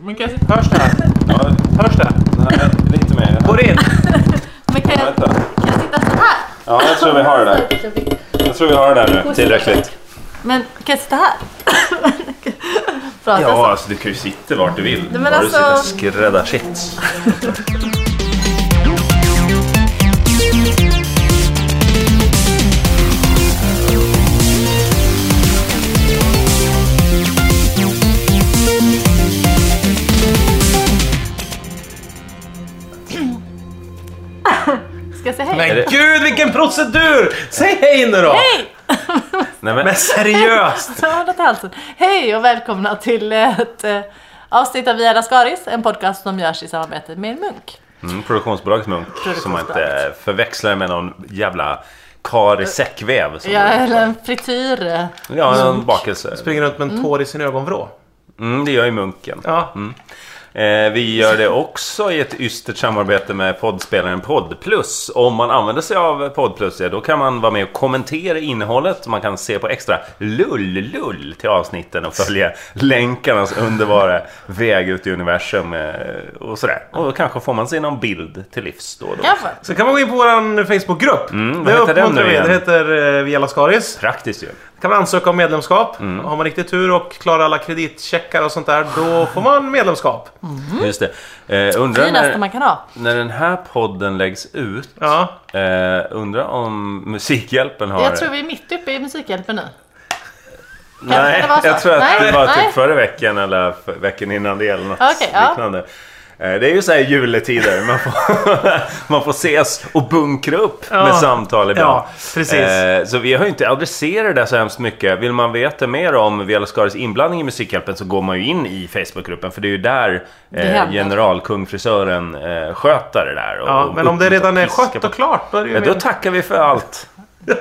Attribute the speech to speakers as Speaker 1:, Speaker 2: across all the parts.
Speaker 1: Mikael, hörs det här?
Speaker 2: Ja,
Speaker 1: Hörs det?
Speaker 2: nej, lite mer.
Speaker 1: Går det in?
Speaker 3: Men kan jag,
Speaker 2: Vänta.
Speaker 3: kan jag sitta så här?
Speaker 2: Ja, jag tror vi har det där. Jag tror vi har det där nu. Tillräckligt.
Speaker 3: Men kan jag sitta här? Prata
Speaker 2: Ja, alltså du kan ju sitta vart du vill.
Speaker 3: men
Speaker 2: Bara du
Speaker 3: alltså-
Speaker 2: sitter skräddarsytt.
Speaker 3: så. Ska jag säga hej?
Speaker 2: Är
Speaker 1: Men
Speaker 2: det-
Speaker 1: gud vilken procedur! Säg hej nu då!
Speaker 3: Hej!
Speaker 2: Nej men,
Speaker 1: Men seriöst!
Speaker 3: Jag har något i halsen. Hej och välkomna till ett eh, avsnitt av Via Lascaris, en podcast som görs i samarbete med Munk.
Speaker 2: mm, produktionsbolaget Munk som man inte
Speaker 3: Produktionsbolaget.
Speaker 2: förväxlar med någon jävla kar i säckväv. Som
Speaker 3: Ja, eller en frityr. eh,
Speaker 2: ja, en bakelse.
Speaker 1: Springer runt med en tår i sin ögonvrå.
Speaker 2: Mm, det gör ju Munken.
Speaker 1: Ja.
Speaker 2: Eh, vi gör det också i ett ystert samarbete med poddspelaren Poddplus. Om man använder sig av Poddplus, ja, då kan man vara med och kommentera innehållet. Man kan se på extra lull-lull till avsnitten och följa länkarnas underbara väg ut i universum eh, och sådär. Och då kanske får man se någon bild till livs då och då.
Speaker 3: Kanske.
Speaker 1: Så kan man gå in på vår Facebookgrupp.
Speaker 2: Mm, vad heter den
Speaker 1: uppmuntrar
Speaker 2: nu
Speaker 1: vi.
Speaker 2: igen?
Speaker 1: Det heter eh, Via Lascaris.
Speaker 2: Praktiskt ju.
Speaker 1: kan man ansöka om medlemskap.
Speaker 2: Mm.
Speaker 1: Har man riktigt tur och klarar alla kreditcheckar och sånt där, då får man medlemskap.
Speaker 3: Mm.
Speaker 2: Just det. Eh, undrar
Speaker 3: Finaste man
Speaker 2: när,
Speaker 3: kan ha.
Speaker 2: när den här podden läggs ut.
Speaker 1: Ja.
Speaker 2: Eh, undrar om Musikhjälpen har...
Speaker 3: Jag tror vi är mitt uppe i Musikhjälpen nu.
Speaker 2: Nej,
Speaker 3: det var så?
Speaker 2: jag tror att
Speaker 3: Nej,
Speaker 2: det var
Speaker 3: nej.
Speaker 2: typ förra veckan eller för, veckan innan det eller något
Speaker 3: Okej, ja.
Speaker 2: liknande. Eh, Det är ju så här juletider, man får, man får ses och bunkra upp
Speaker 1: Ja.
Speaker 2: med samtal ibland.
Speaker 1: Ja, precis.
Speaker 2: Eh, Så vi har ju inte adresserat det så hemskt mycket. Vill man veta mer om Viola Skaris inblandning i Musikhjälpen så går man ju in i Facebookgruppen för det är ju där eh,
Speaker 3: händer.
Speaker 2: generalkungfrisören eh, sköter det där. och-
Speaker 1: Ja,
Speaker 2: och
Speaker 1: men om det
Speaker 2: uppmuntrar
Speaker 1: redan är
Speaker 2: piska
Speaker 1: skött
Speaker 2: på-
Speaker 1: och klart, då är det ju
Speaker 2: Ja, då
Speaker 1: mer-
Speaker 2: tackar vi för allt.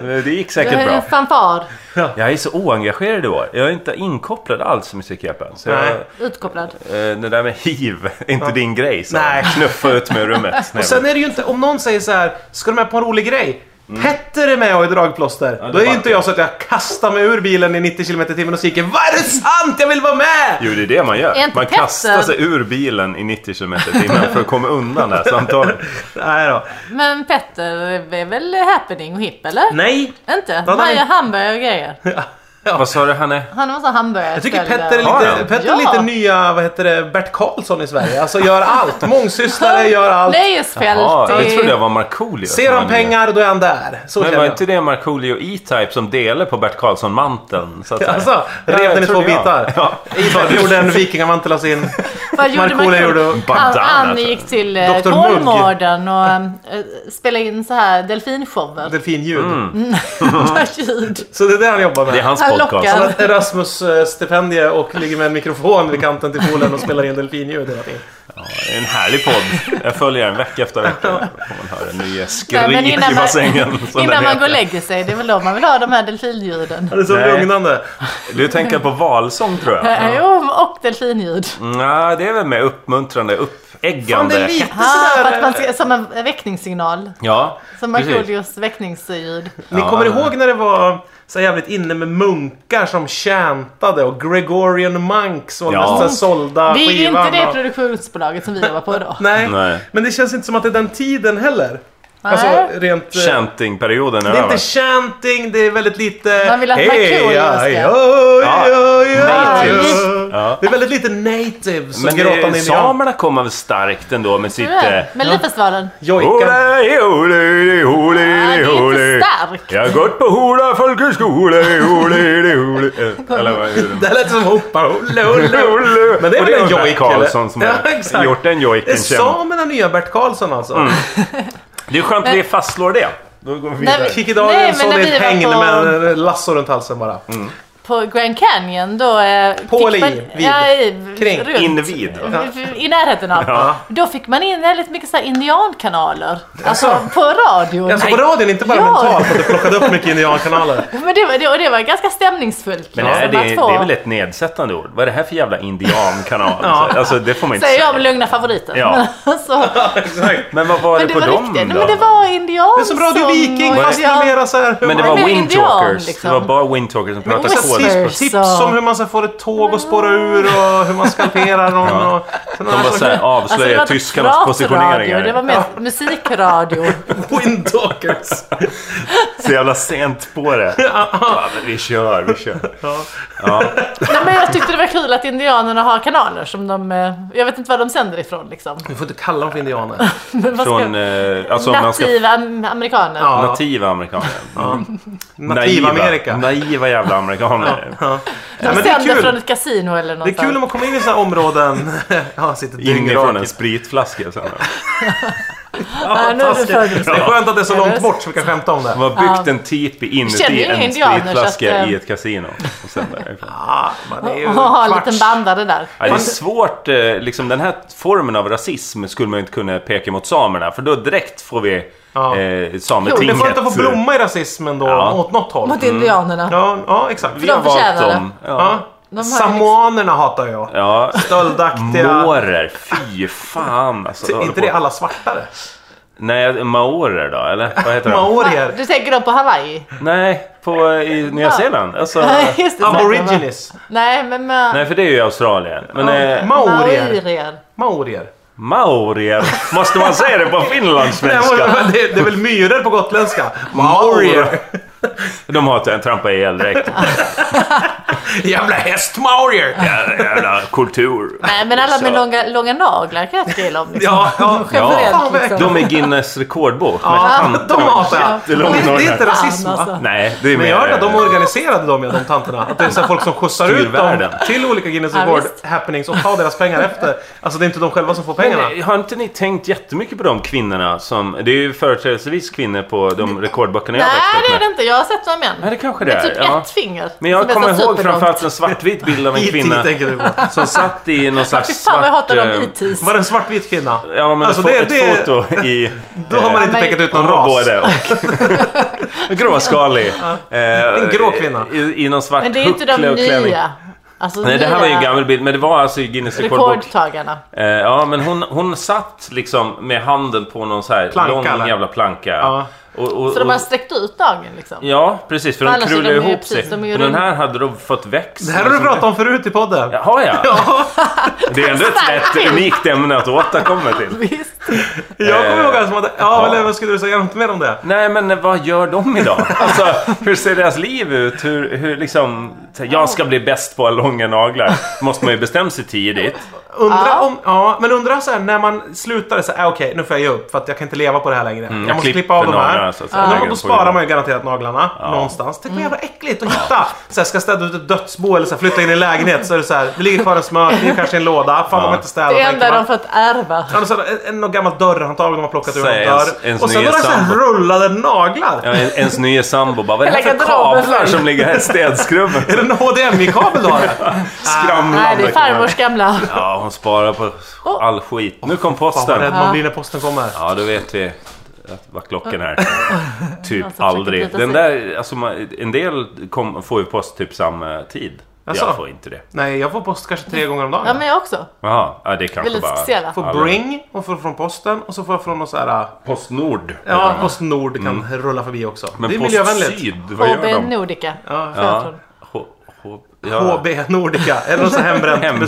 Speaker 2: Det gick
Speaker 3: Du har
Speaker 2: säkert
Speaker 3: ju
Speaker 2: bra.
Speaker 3: en fanfar
Speaker 2: Jag är så oengagerad i år. Jag är inte inkopplad alls i Musikhjälpen. Så jag,
Speaker 1: Nej.
Speaker 2: eh,
Speaker 3: utkopplad.
Speaker 2: det där med hiv, är inte din grej. Så.
Speaker 1: Nej.
Speaker 2: Knuffa ut mig ur rummet.
Speaker 1: Och sen är det ju inte, om någon säger så här, ska du med på en rolig grej? Petter är med och är dragplåster.
Speaker 2: Mm. det
Speaker 1: då är ju
Speaker 2: var-
Speaker 1: inte jag så att jag kastar mig ur bilen i 90 km i timmen och skriker Vad är det sant? Jag vill vara med!
Speaker 2: Jo, det är det man
Speaker 3: Är
Speaker 2: gör.
Speaker 3: inte
Speaker 2: Man
Speaker 3: Petter-
Speaker 2: kastar sig ur bilen i 90 km i timmen för att komma undan det här samtalet.
Speaker 1: Nej då.
Speaker 3: Men Petter är väl happening och hipp eller?
Speaker 1: Nej.
Speaker 3: Inte?
Speaker 1: Vad har
Speaker 3: Han
Speaker 1: vi-
Speaker 3: gör hamburgare och grejer.
Speaker 2: Vad sa du, Hanne?
Speaker 3: Han har massa hamburgare.
Speaker 1: Jag tycker Petter är
Speaker 2: Har
Speaker 1: lite,
Speaker 2: han?
Speaker 1: Petter
Speaker 3: Ja.
Speaker 1: är lite nya, vad heter det, Bert Karlsson i Sverige. Alltså gör allt. Mångsysslare, gör allt.
Speaker 3: Lejesfält
Speaker 2: Ja, det
Speaker 3: i-
Speaker 2: trodde jag var Markoolio. som
Speaker 1: Ser han
Speaker 2: var
Speaker 1: pengar, då är han där. Så
Speaker 2: Men
Speaker 1: känner
Speaker 2: var
Speaker 1: jag.
Speaker 2: inte det Markoolio E-Type som delar på Bert Karlsson-manteln? så att säga?
Speaker 1: Alltså,
Speaker 2: Ja,
Speaker 1: rev
Speaker 2: jag
Speaker 1: den i två
Speaker 2: trodde jag.
Speaker 1: bitar.
Speaker 2: Ja.
Speaker 1: Ivar gjorde en vikingamantel av sin...
Speaker 3: Vad gjorde
Speaker 1: Markoolio
Speaker 3: Markoolio?
Speaker 1: gjorde en
Speaker 3: Han,
Speaker 2: bandana,
Speaker 3: han
Speaker 2: tror jag.
Speaker 3: gick till eh,
Speaker 1: Dr. Mugg.
Speaker 3: Kolmården och eh, spelade in så här delfinshower.
Speaker 1: Delfinljud.
Speaker 3: Vad ljud.
Speaker 1: Så det är det han jobbar med.
Speaker 2: Mm. Det är hans
Speaker 3: Han
Speaker 2: podcast.
Speaker 3: lockar.
Speaker 1: Han har ett Erasmus-stipendie och ligger med en mikrofon vid kanten till poolen och spelar in delfinljud hela tiden.
Speaker 2: Det är en härlig podd. Jag följer den vecka efter vecka. Får man höra nya
Speaker 3: Nej, men
Speaker 2: skrik
Speaker 3: innan
Speaker 2: i
Speaker 3: man-
Speaker 2: bassängen. som den
Speaker 3: Innan man
Speaker 2: heter.
Speaker 3: går och lägger sig. Det är väl då man vill ha de här delfinljuden.
Speaker 1: Det är så
Speaker 2: Nej.
Speaker 1: lugnande.
Speaker 2: Du tänker på valsång tror jag?
Speaker 3: Eh, Jo, och delfinljud.
Speaker 1: Mm.
Speaker 2: Nej, det är väl mer uppmuntrande,
Speaker 1: Fan, det är
Speaker 2: uppeggande.
Speaker 1: lite
Speaker 3: Ah, för att man
Speaker 1: sådär...
Speaker 3: ska, som en väckningssignal.
Speaker 2: Ja,
Speaker 3: Som
Speaker 2: precis.
Speaker 3: Markoolios väckningsljud.
Speaker 1: Ni
Speaker 2: Ja,
Speaker 1: kommer
Speaker 2: men-
Speaker 1: ihåg när det var så jävligt inne med munkar som chantade och Gregorian Monks var
Speaker 2: Ja.
Speaker 1: ja. nästan sålda
Speaker 3: Det är ju
Speaker 1: skivan
Speaker 3: inte det
Speaker 1: och-
Speaker 3: produktionsbolaget som vi jobbar på då.
Speaker 1: Nej.
Speaker 2: Nej.
Speaker 1: men det känns inte som att det är den tiden heller. Alltså
Speaker 3: Nej.
Speaker 1: rent... eh,
Speaker 2: Chantingperioden är
Speaker 1: Det är
Speaker 2: över.
Speaker 1: inte chanting, det är väldigt lite...
Speaker 3: Man vill att Markoolio
Speaker 1: Hey, aj, aj,
Speaker 3: ska...
Speaker 1: aj, aj,
Speaker 2: natives.
Speaker 1: aj.
Speaker 2: Ja.
Speaker 1: Det är väldigt lite natives som
Speaker 2: Men det,
Speaker 1: gråtande indianer.
Speaker 2: samerna kommer väl starkt ändå med sitt... eh,
Speaker 3: Med Melodifestivalen.
Speaker 1: Jojkar.
Speaker 2: Ole, ole, ole,
Speaker 3: Nej, det
Speaker 2: ole,
Speaker 3: är
Speaker 2: ole.
Speaker 3: inte starkt.
Speaker 2: Jag har gått på Hola folkhögskola, ole, ole, ole. Eh, Eller vad är det?
Speaker 1: Det lät som hoppa. Olle, olle, olle. Men det är
Speaker 2: Och
Speaker 1: väl en
Speaker 2: Bert
Speaker 1: jojk
Speaker 2: Karlsson som
Speaker 1: eller? Ja,
Speaker 2: har
Speaker 1: exakt.
Speaker 2: gjort den
Speaker 1: Det är
Speaker 2: jojken känd.
Speaker 1: samerna nya Bert Karlsson alltså.
Speaker 2: Mm. Det är skönt att vi fastslår det. Då går vi
Speaker 3: Nej,
Speaker 2: vidare.
Speaker 3: Nej,
Speaker 1: Kikki Danielsson
Speaker 3: men när
Speaker 1: är
Speaker 3: vi
Speaker 1: ett
Speaker 3: var
Speaker 1: häng
Speaker 3: på-
Speaker 1: med en lasso runt halsen bara.
Speaker 3: På Grand Canyon då... eh,
Speaker 1: På
Speaker 3: fick
Speaker 1: eller i?
Speaker 3: man-
Speaker 1: Vid?
Speaker 3: Ja, i,
Speaker 1: Kring?
Speaker 3: runt.
Speaker 2: Invid. va?
Speaker 3: I närheten av.
Speaker 2: Ja.
Speaker 3: Då fick man in väldigt mycket så här indiankanaler. Alltså
Speaker 1: Jaså?
Speaker 3: på radion.
Speaker 1: Alltså på radion, inte bara
Speaker 3: Ja.
Speaker 1: mentalt för att du plockade upp mycket indiankanaler.
Speaker 3: Men det, var- det, och det var ganska stämningsfullt.
Speaker 2: Men
Speaker 3: liksom,
Speaker 2: är det,
Speaker 3: att få-
Speaker 2: det är väl ett nedsättande ord? Vad är det här för jävla indiankanal?
Speaker 1: Ja.
Speaker 2: Alltså det får man inte
Speaker 3: Säger
Speaker 2: säga.
Speaker 3: jag med lugna favoriter.
Speaker 2: Ja.
Speaker 3: Men, alltså,
Speaker 1: Exakt.
Speaker 2: Men vad var
Speaker 3: men
Speaker 2: det på
Speaker 3: det var
Speaker 2: dem
Speaker 3: riktigt.
Speaker 2: då?
Speaker 3: Men det var indiansång.
Speaker 1: Det är som Radio Viking
Speaker 3: och
Speaker 1: fast
Speaker 3: indian-
Speaker 1: numera så här.
Speaker 2: Men det
Speaker 3: var
Speaker 2: var
Speaker 3: mer
Speaker 2: Windtalkers.
Speaker 3: indian, liksom.
Speaker 2: Det var bara Windtalkers som pratade
Speaker 1: Men
Speaker 3: Tips.
Speaker 2: skådis.
Speaker 1: Tips om hur man ska få ett tåg att spåra ur och hur man skalperar någon.
Speaker 2: Ja.
Speaker 1: Och,
Speaker 2: De
Speaker 1: sen
Speaker 2: bara
Speaker 3: Alltså,
Speaker 2: så här avslöjar
Speaker 3: inte
Speaker 2: tyskarnas
Speaker 3: pratradio,
Speaker 2: positioneringar.
Speaker 3: Det var mer musikradio.
Speaker 1: Windtalkers.
Speaker 2: Så jävla sent på det. Ja, men vi kör, vi kör.
Speaker 3: Nej, men jag tyckte det var kul att indianerna har kanaler som de... eh, Jag vet inte var de sänder ifrån liksom.
Speaker 1: Du får inte kalla dem för indianer.
Speaker 3: Men vad ska,
Speaker 2: Från, eh, alltså om man ska...
Speaker 3: nativa am- amerikaner.
Speaker 1: Ja.
Speaker 2: Nativa amerikaner.
Speaker 1: Nativa Amerika.
Speaker 2: Naiva jävla amerikaner.
Speaker 1: Ja.
Speaker 3: de
Speaker 1: Ja, men det är
Speaker 3: sänder
Speaker 1: kul.
Speaker 3: från ett kasino eller
Speaker 1: Det
Speaker 3: någonstans.
Speaker 1: är kul om man kommer in i sådana områden. Ja, sitter
Speaker 2: Inifrån
Speaker 1: dyngrak.
Speaker 2: en spritflaska. Så här.
Speaker 3: Ja, nu är det
Speaker 1: Det
Speaker 3: för-
Speaker 1: är skönt att det är så
Speaker 3: Ja,
Speaker 1: långt
Speaker 3: visst.
Speaker 1: bort så vi kan skämta om
Speaker 2: De
Speaker 1: det.
Speaker 2: har byggt en tipi
Speaker 3: Känner ju
Speaker 2: inuti en
Speaker 3: indianer, så
Speaker 2: spritflaska
Speaker 3: att, eh,
Speaker 2: i ett kasino. Och sen därifrån.
Speaker 1: Ja, men det är ju
Speaker 3: Och ha en liten
Speaker 1: kvarts.
Speaker 3: bandare där.
Speaker 2: Ja, det är svårt, eh, liksom den här formen av rasism skulle man ju inte kunna peka mot samerna för då direkt får vi
Speaker 1: Ja.
Speaker 2: eh,
Speaker 1: Men
Speaker 2: sametinget.
Speaker 1: Det får inte få blomma i rasismen då,
Speaker 2: Ja. Mm.
Speaker 1: åt något håll.
Speaker 3: Mot indianerna.
Speaker 1: Ja, ja exakt.
Speaker 2: Vi har
Speaker 3: de förtjänar
Speaker 2: valt dem. Ja.
Speaker 1: Ja.
Speaker 3: De har
Speaker 1: Samoanerna hatar jag.
Speaker 2: Ja.
Speaker 1: Stöldaktiga.
Speaker 2: Mårer, fy fan alltså.
Speaker 1: Är inte det alla svartare?
Speaker 2: Nej, maorer då eller? Vad heter de?
Speaker 1: Maorier.
Speaker 3: Du tänker då på Hawaii?
Speaker 2: Nej, på, i Nya Zeeland. Alltså,
Speaker 3: Nej, just det, säkert, va?
Speaker 1: Aborigines.
Speaker 3: Nej, men med
Speaker 2: nej, för det är ju Australien. Men eh,
Speaker 1: Maorier.
Speaker 3: maorier.
Speaker 1: Maorier.
Speaker 2: maorier, måste man säga det på
Speaker 1: Nej,
Speaker 2: finlandssvenska?
Speaker 1: men Det det är väl myror på gotländska? Maorier.
Speaker 2: De har en trampa ihjäl direkt.
Speaker 1: Jävla hästmaorier.
Speaker 2: Jävla, jävla kultur.
Speaker 3: Nej, men alla med
Speaker 2: Så.
Speaker 3: långa, långa naglar kan jag inte gilla om. Liksom.
Speaker 1: Ja, ja.
Speaker 3: Generellt,
Speaker 1: Fan, vad
Speaker 3: liksom.
Speaker 2: De är Guinness rekordbok.
Speaker 1: Ja,
Speaker 2: med
Speaker 1: de
Speaker 2: tanter.
Speaker 1: hatar jag.
Speaker 2: Det är långt
Speaker 1: Det är inte
Speaker 2: norrut.
Speaker 1: rasism
Speaker 3: Fan,
Speaker 1: va?
Speaker 3: alltså.
Speaker 2: Nej, det är
Speaker 1: Men
Speaker 2: mer...
Speaker 1: jag hörde att de organiserade dem, ja, de tanterna. Att det är så här folk som skjutsar
Speaker 2: Styr
Speaker 1: ut dem
Speaker 2: världen.
Speaker 1: till olika Guinness
Speaker 3: Ja,
Speaker 1: World
Speaker 3: visst.
Speaker 1: happenings och tar deras pengar efter. Alltså det är inte de själva som får pengarna.
Speaker 2: Men, eh, har inte ni tänkt jättemycket på de kvinnorna som... Det är ju företrädesvis kvinnor på de rekordböckerna jag
Speaker 3: Nej,
Speaker 2: växte upp
Speaker 3: det
Speaker 2: med.
Speaker 3: är det inte. Jag har sett några män.
Speaker 2: Nej, det kanske det
Speaker 3: med
Speaker 2: är.
Speaker 3: typ
Speaker 2: ja.
Speaker 3: ett finger.
Speaker 2: Men jag
Speaker 3: som är
Speaker 2: kommer
Speaker 3: så
Speaker 2: ihåg
Speaker 3: superlångt.
Speaker 2: framförallt en svartvit bild av en
Speaker 1: IT
Speaker 2: kvinna
Speaker 1: tänker du på.
Speaker 2: som satt i någon slags
Speaker 3: Fy
Speaker 2: svart...
Speaker 3: fan vad jag hatar
Speaker 2: eh,
Speaker 3: de ITs.
Speaker 1: Var det en svartvit kvinna?
Speaker 2: Ja, men
Speaker 1: Alltså,
Speaker 2: ett, fo-
Speaker 1: det-
Speaker 2: ett
Speaker 1: det-
Speaker 2: foto i...
Speaker 1: Då har man inte
Speaker 3: Nej.
Speaker 1: pekat ut någon
Speaker 2: Hon var
Speaker 1: ras.
Speaker 2: både och. Gråskalig. En
Speaker 1: grå kvinna.
Speaker 2: Eh, I, i någon svart
Speaker 3: Men det är ju inte de
Speaker 2: huckle och klänning.
Speaker 3: nya. Alltså,
Speaker 2: Nej, det här var ju en
Speaker 3: nya
Speaker 2: gammal bild, men det var alltså i Guinness rekordbok.
Speaker 3: Rekordtagarna.
Speaker 2: Eh, ja, men hon, hon satt liksom med handen på någon så här
Speaker 1: Planka,
Speaker 2: lång
Speaker 1: eller?
Speaker 2: jävla planka.
Speaker 1: Ja.
Speaker 2: Och, och,
Speaker 3: Så de har
Speaker 2: och-
Speaker 3: sträckt ut dagen liksom.
Speaker 2: Ja, precis. För
Speaker 3: För
Speaker 2: de
Speaker 3: annars är
Speaker 2: krullar
Speaker 3: de ju
Speaker 2: ihop sig.
Speaker 3: precis, de är ju
Speaker 2: Men den
Speaker 3: runda.
Speaker 2: här hade de fått växt.
Speaker 1: Det här har du pratat om förut i podden.
Speaker 2: Har jag?
Speaker 1: Ja,
Speaker 2: Det är ändå ett rätt unikt ämne att återkomma till.
Speaker 3: Visst.
Speaker 1: jag kommer
Speaker 2: Eh,
Speaker 1: ihåg att som att... Ja,
Speaker 2: ja.
Speaker 1: eller vad skulle du säga något mer om det?
Speaker 2: Nej, men vad gör de idag? Alltså, hur ser deras liv ut? Hur, hur liksom... så här, Jag ska bli bäst på långa naglar. Måste man ju bestämma sig tidigt.
Speaker 1: Undra
Speaker 3: Ja.
Speaker 1: om... Ja, men undra så här när man slutar så här, ah, okej, nu får jag ge upp för att jag kan inte leva på det här längre. jag, måste
Speaker 2: Mm, klipper
Speaker 1: klippa av de
Speaker 2: naglarna,
Speaker 1: här.
Speaker 2: så att säga.
Speaker 1: Ja.
Speaker 2: Lägger
Speaker 1: Då
Speaker 2: på
Speaker 1: sparar
Speaker 2: jorden.
Speaker 1: man ju garanterat naglarna någonstans. Tänk vad jävla äckligt att hitta. Så här, ska städa ut ett dödsbo eller så här, flytta in i en lägenhet så är det så här, det ligger kvar en smörkniv kanske i en låda. Fan, de har inte städat.
Speaker 3: Det
Speaker 1: tänker
Speaker 3: enda
Speaker 1: man.
Speaker 3: de fått ärva.
Speaker 1: Ja, men så här, en, en någon gammal dörrhandtag de har plockat ur
Speaker 2: Så
Speaker 1: en
Speaker 2: ens-
Speaker 1: dörr.
Speaker 2: ens
Speaker 1: Och sen
Speaker 2: nya
Speaker 1: några så här
Speaker 2: sambo.
Speaker 1: rullade naglar.
Speaker 2: Ja, en- Ens nya sambo bara, vad är det här
Speaker 3: Jag
Speaker 2: för
Speaker 3: lägger drapen
Speaker 2: kablar
Speaker 3: själv."
Speaker 2: som ligger här i städskrubben?
Speaker 1: Är det en HDMI-kabel du har?
Speaker 2: Skramlande.
Speaker 3: Nej, det är farmors gamla.
Speaker 2: Ja, hon sparar på all skit. Nu kom
Speaker 1: Fan vad rädd
Speaker 2: posten.
Speaker 1: man blir när posten kommer.
Speaker 2: Ja, då vet vi att vad klockan är. Typ
Speaker 3: försöker
Speaker 2: aldrig.
Speaker 3: bryta
Speaker 2: Den
Speaker 3: sig.
Speaker 2: där, alltså, man- en del kom, får ju post typ samma tid.
Speaker 1: Jaså?
Speaker 2: Jag får inte det.
Speaker 1: Nej, jag får post kanske tre gånger om dagen.
Speaker 3: Ja, men jag också.
Speaker 2: Jaha, ja, det är kanske
Speaker 3: Väldigt
Speaker 2: bara...
Speaker 1: Jag
Speaker 3: speciella.
Speaker 1: får Bring och får från posten och så får jag från någon så här...
Speaker 2: Postnord.
Speaker 1: Ja, Postnord kan rulla förbi också.
Speaker 2: Mm. Men
Speaker 1: det är
Speaker 2: Post
Speaker 1: miljövänligt.
Speaker 2: Syd, vad gör
Speaker 3: HB
Speaker 2: de?
Speaker 3: Nordica.
Speaker 1: Ja.
Speaker 3: Får jag tro.
Speaker 2: H- H- ja.
Speaker 1: HB Nordica. Eller någon sån här hembränt
Speaker 2: Hembränt.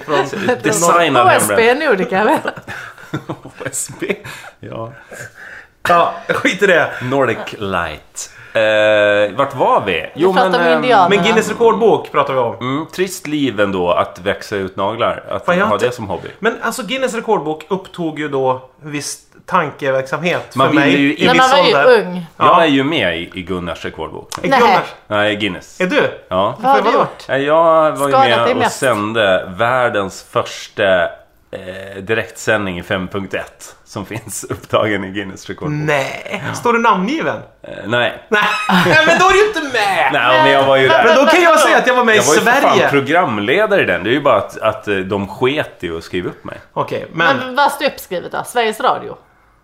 Speaker 1: från...
Speaker 2: Designad hembränd.
Speaker 3: HSB Nordica.
Speaker 2: HSB. Ja.
Speaker 1: Ja, skit i det.
Speaker 2: Nordic Light. Eh, vart var vi?
Speaker 3: Vi pratade om
Speaker 2: ehm,
Speaker 3: indianer.
Speaker 1: Men Guinness rekordbok pratar vi om.
Speaker 2: Mm, trist liv ändå att växa ut naglar. Att
Speaker 1: Fan, jag har
Speaker 2: ha
Speaker 1: inte-
Speaker 2: det som hobby.
Speaker 1: Men alltså Guinness rekordbok upptog ju då en viss tankeverksamhet
Speaker 2: Man
Speaker 1: för
Speaker 2: vill
Speaker 1: mig
Speaker 2: ju
Speaker 1: i
Speaker 2: in-
Speaker 3: När man
Speaker 1: viss
Speaker 3: var ju
Speaker 1: ålder.
Speaker 3: ung.
Speaker 1: Ja.
Speaker 2: Jag är ju med i, i Gunnars rekordbok.
Speaker 1: Är
Speaker 3: Nej.
Speaker 1: Gunnars?
Speaker 2: Nej, Guinness.
Speaker 1: Är du?
Speaker 2: Ja.
Speaker 3: Vad har du
Speaker 1: Vadå?
Speaker 3: gjort?
Speaker 2: Nej, Jag var ju
Speaker 3: Skadat dig
Speaker 2: med och
Speaker 3: mest.
Speaker 2: sände världens första eh, direktsändning i 5.1. Som finns upptagen i Guinness rekordbok.
Speaker 1: Nej. Står du namngiven?
Speaker 2: Eh, nej.
Speaker 1: Nej, men då är du inte med!
Speaker 2: Nej, men jag var ju
Speaker 1: Men
Speaker 2: där.
Speaker 1: då kan jag säga att jag var med i
Speaker 2: Jag var ju för fan
Speaker 1: Sverige.
Speaker 2: programledare i den. Det är ju bara att, att eh, de sket i att skriva upp mig.
Speaker 1: Okej, men...
Speaker 3: Men vad står uppskrivet då? Sveriges Radio?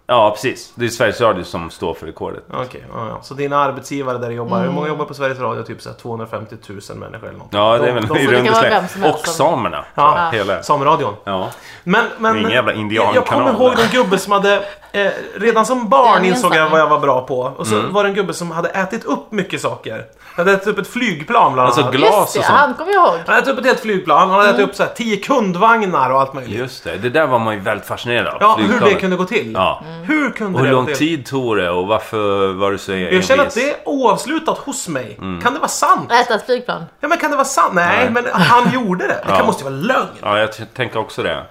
Speaker 2: Ja, precis. Det är Sveriges Radio som står för rekordet.
Speaker 1: Okej, ja, ja. så dina arbetsgivare där du jobbar, hur många jobbar på Sveriges Radio? Typ så här 250 000 människor eller något.
Speaker 2: Ja, det är
Speaker 1: De-
Speaker 2: väl
Speaker 1: de-
Speaker 2: i
Speaker 3: det kan
Speaker 2: runda
Speaker 3: vara vem som
Speaker 2: slängar.
Speaker 3: helst
Speaker 2: Och
Speaker 3: som-
Speaker 2: samerna.
Speaker 1: Ja.
Speaker 2: Hela.
Speaker 1: Sameradion.
Speaker 2: Ja.
Speaker 1: Men, men,
Speaker 2: Det är ingen jävla
Speaker 1: jag, jag kommer
Speaker 2: indiankanal.
Speaker 1: ihåg den gubbe som hade, eh, redan som barn
Speaker 3: Det är
Speaker 1: insåg
Speaker 3: ensam.
Speaker 1: jag
Speaker 2: Mm.
Speaker 1: vad jag var bra på. Och så var det en gubbe som hade ätit upp mycket saker. Han hade ätit upp ett flygplan bland annat.
Speaker 2: Alltså glas och
Speaker 3: Just det,
Speaker 2: sånt.
Speaker 3: han kommer jag ihåg.
Speaker 1: han hade ätit upp ett helt flygplan. Han hade ätit upp så här, tio kundvagnar och allt möjligt.
Speaker 2: Just det, det där var man ju väldigt fascinerad av.
Speaker 1: Ja, hur
Speaker 2: flygplanet.
Speaker 1: det kunde gå till.
Speaker 2: Ja.
Speaker 1: Hur kunde
Speaker 2: Och hur
Speaker 1: det
Speaker 2: lång
Speaker 1: gå till?
Speaker 2: tid tog det och varför var du så
Speaker 1: Jag känner att det är oavslutat hos mig. Kan det vara sant?
Speaker 3: Äta ett flygplan.
Speaker 1: Ja, men kan det vara sant? Nej,
Speaker 2: Mm. Nej.
Speaker 1: men han gjorde det. Det kan,
Speaker 2: Ja.
Speaker 1: måste ju vara lögn.
Speaker 2: Ja, jag t- tänker också det.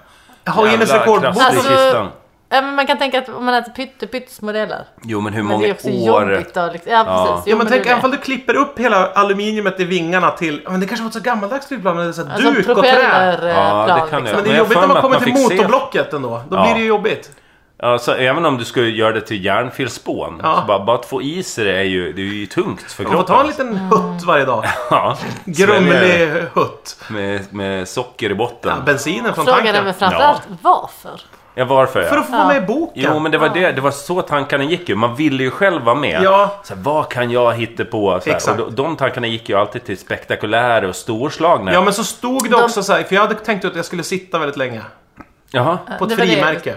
Speaker 1: Har Guinness
Speaker 2: Jävla
Speaker 1: rekordbok.
Speaker 2: kraftigt i
Speaker 3: Alltså-
Speaker 2: kistan.
Speaker 3: Ja, men man kan tänka att om man äter pytte, pyttesmå delar.
Speaker 2: Jo, men hur
Speaker 3: Men det är
Speaker 2: många
Speaker 3: också
Speaker 2: år...
Speaker 3: jobbigt då. Liksom. Ja,
Speaker 2: Ja.
Speaker 3: precis. Jo,
Speaker 1: Ja, men
Speaker 3: det är
Speaker 1: tänk även
Speaker 3: det.
Speaker 1: om du klipper upp hela aluminiumet i vingarna till... Men det kanske var ett så gammaldags flygplan med så här
Speaker 3: Alltså
Speaker 1: duk och trä.
Speaker 3: propellerplan.
Speaker 2: Ja, det kan
Speaker 3: liksom.
Speaker 1: Men det
Speaker 2: Men
Speaker 1: är
Speaker 2: jag
Speaker 1: jobbigt
Speaker 2: har för
Speaker 1: när
Speaker 2: mig
Speaker 1: man
Speaker 2: att
Speaker 1: kommer
Speaker 2: man
Speaker 1: till
Speaker 2: fick se-
Speaker 1: motorblocket ändå. Då
Speaker 2: Ja.
Speaker 1: blir det ju jobbigt.
Speaker 2: Alltså, även om du skulle göra det till järnfilspån.
Speaker 1: Ja.
Speaker 2: Så bara, bara att få is i det är ju, det är ju tungt för
Speaker 1: Man
Speaker 2: kroppen.
Speaker 1: får ta en liten hutt varje dag.
Speaker 2: Ja,
Speaker 1: Grumlig
Speaker 2: svälja det
Speaker 1: hutt.
Speaker 2: Med, med socker i
Speaker 1: Ja,
Speaker 2: botten.
Speaker 1: bensinen från
Speaker 3: Frågan är väl
Speaker 1: tanken.
Speaker 3: framförallt varför?
Speaker 2: Ja, varför? Ja.
Speaker 1: För att få vara med i boken.
Speaker 2: Jo, men det var, det, det var så tankarna gick ju. Man ville ju själv vara med.
Speaker 1: Ja.
Speaker 2: Så här, vad kan jag hitta på? Så här,
Speaker 1: Exakt.
Speaker 2: och de, de tankarna gick ju alltid till spektakulära och storslagna.
Speaker 1: Ja men så stod det också så här, för jag hade tänkt att jag skulle sitta väldigt länge.
Speaker 2: Jaha.
Speaker 1: På ett
Speaker 3: Det var det.
Speaker 1: frimärke.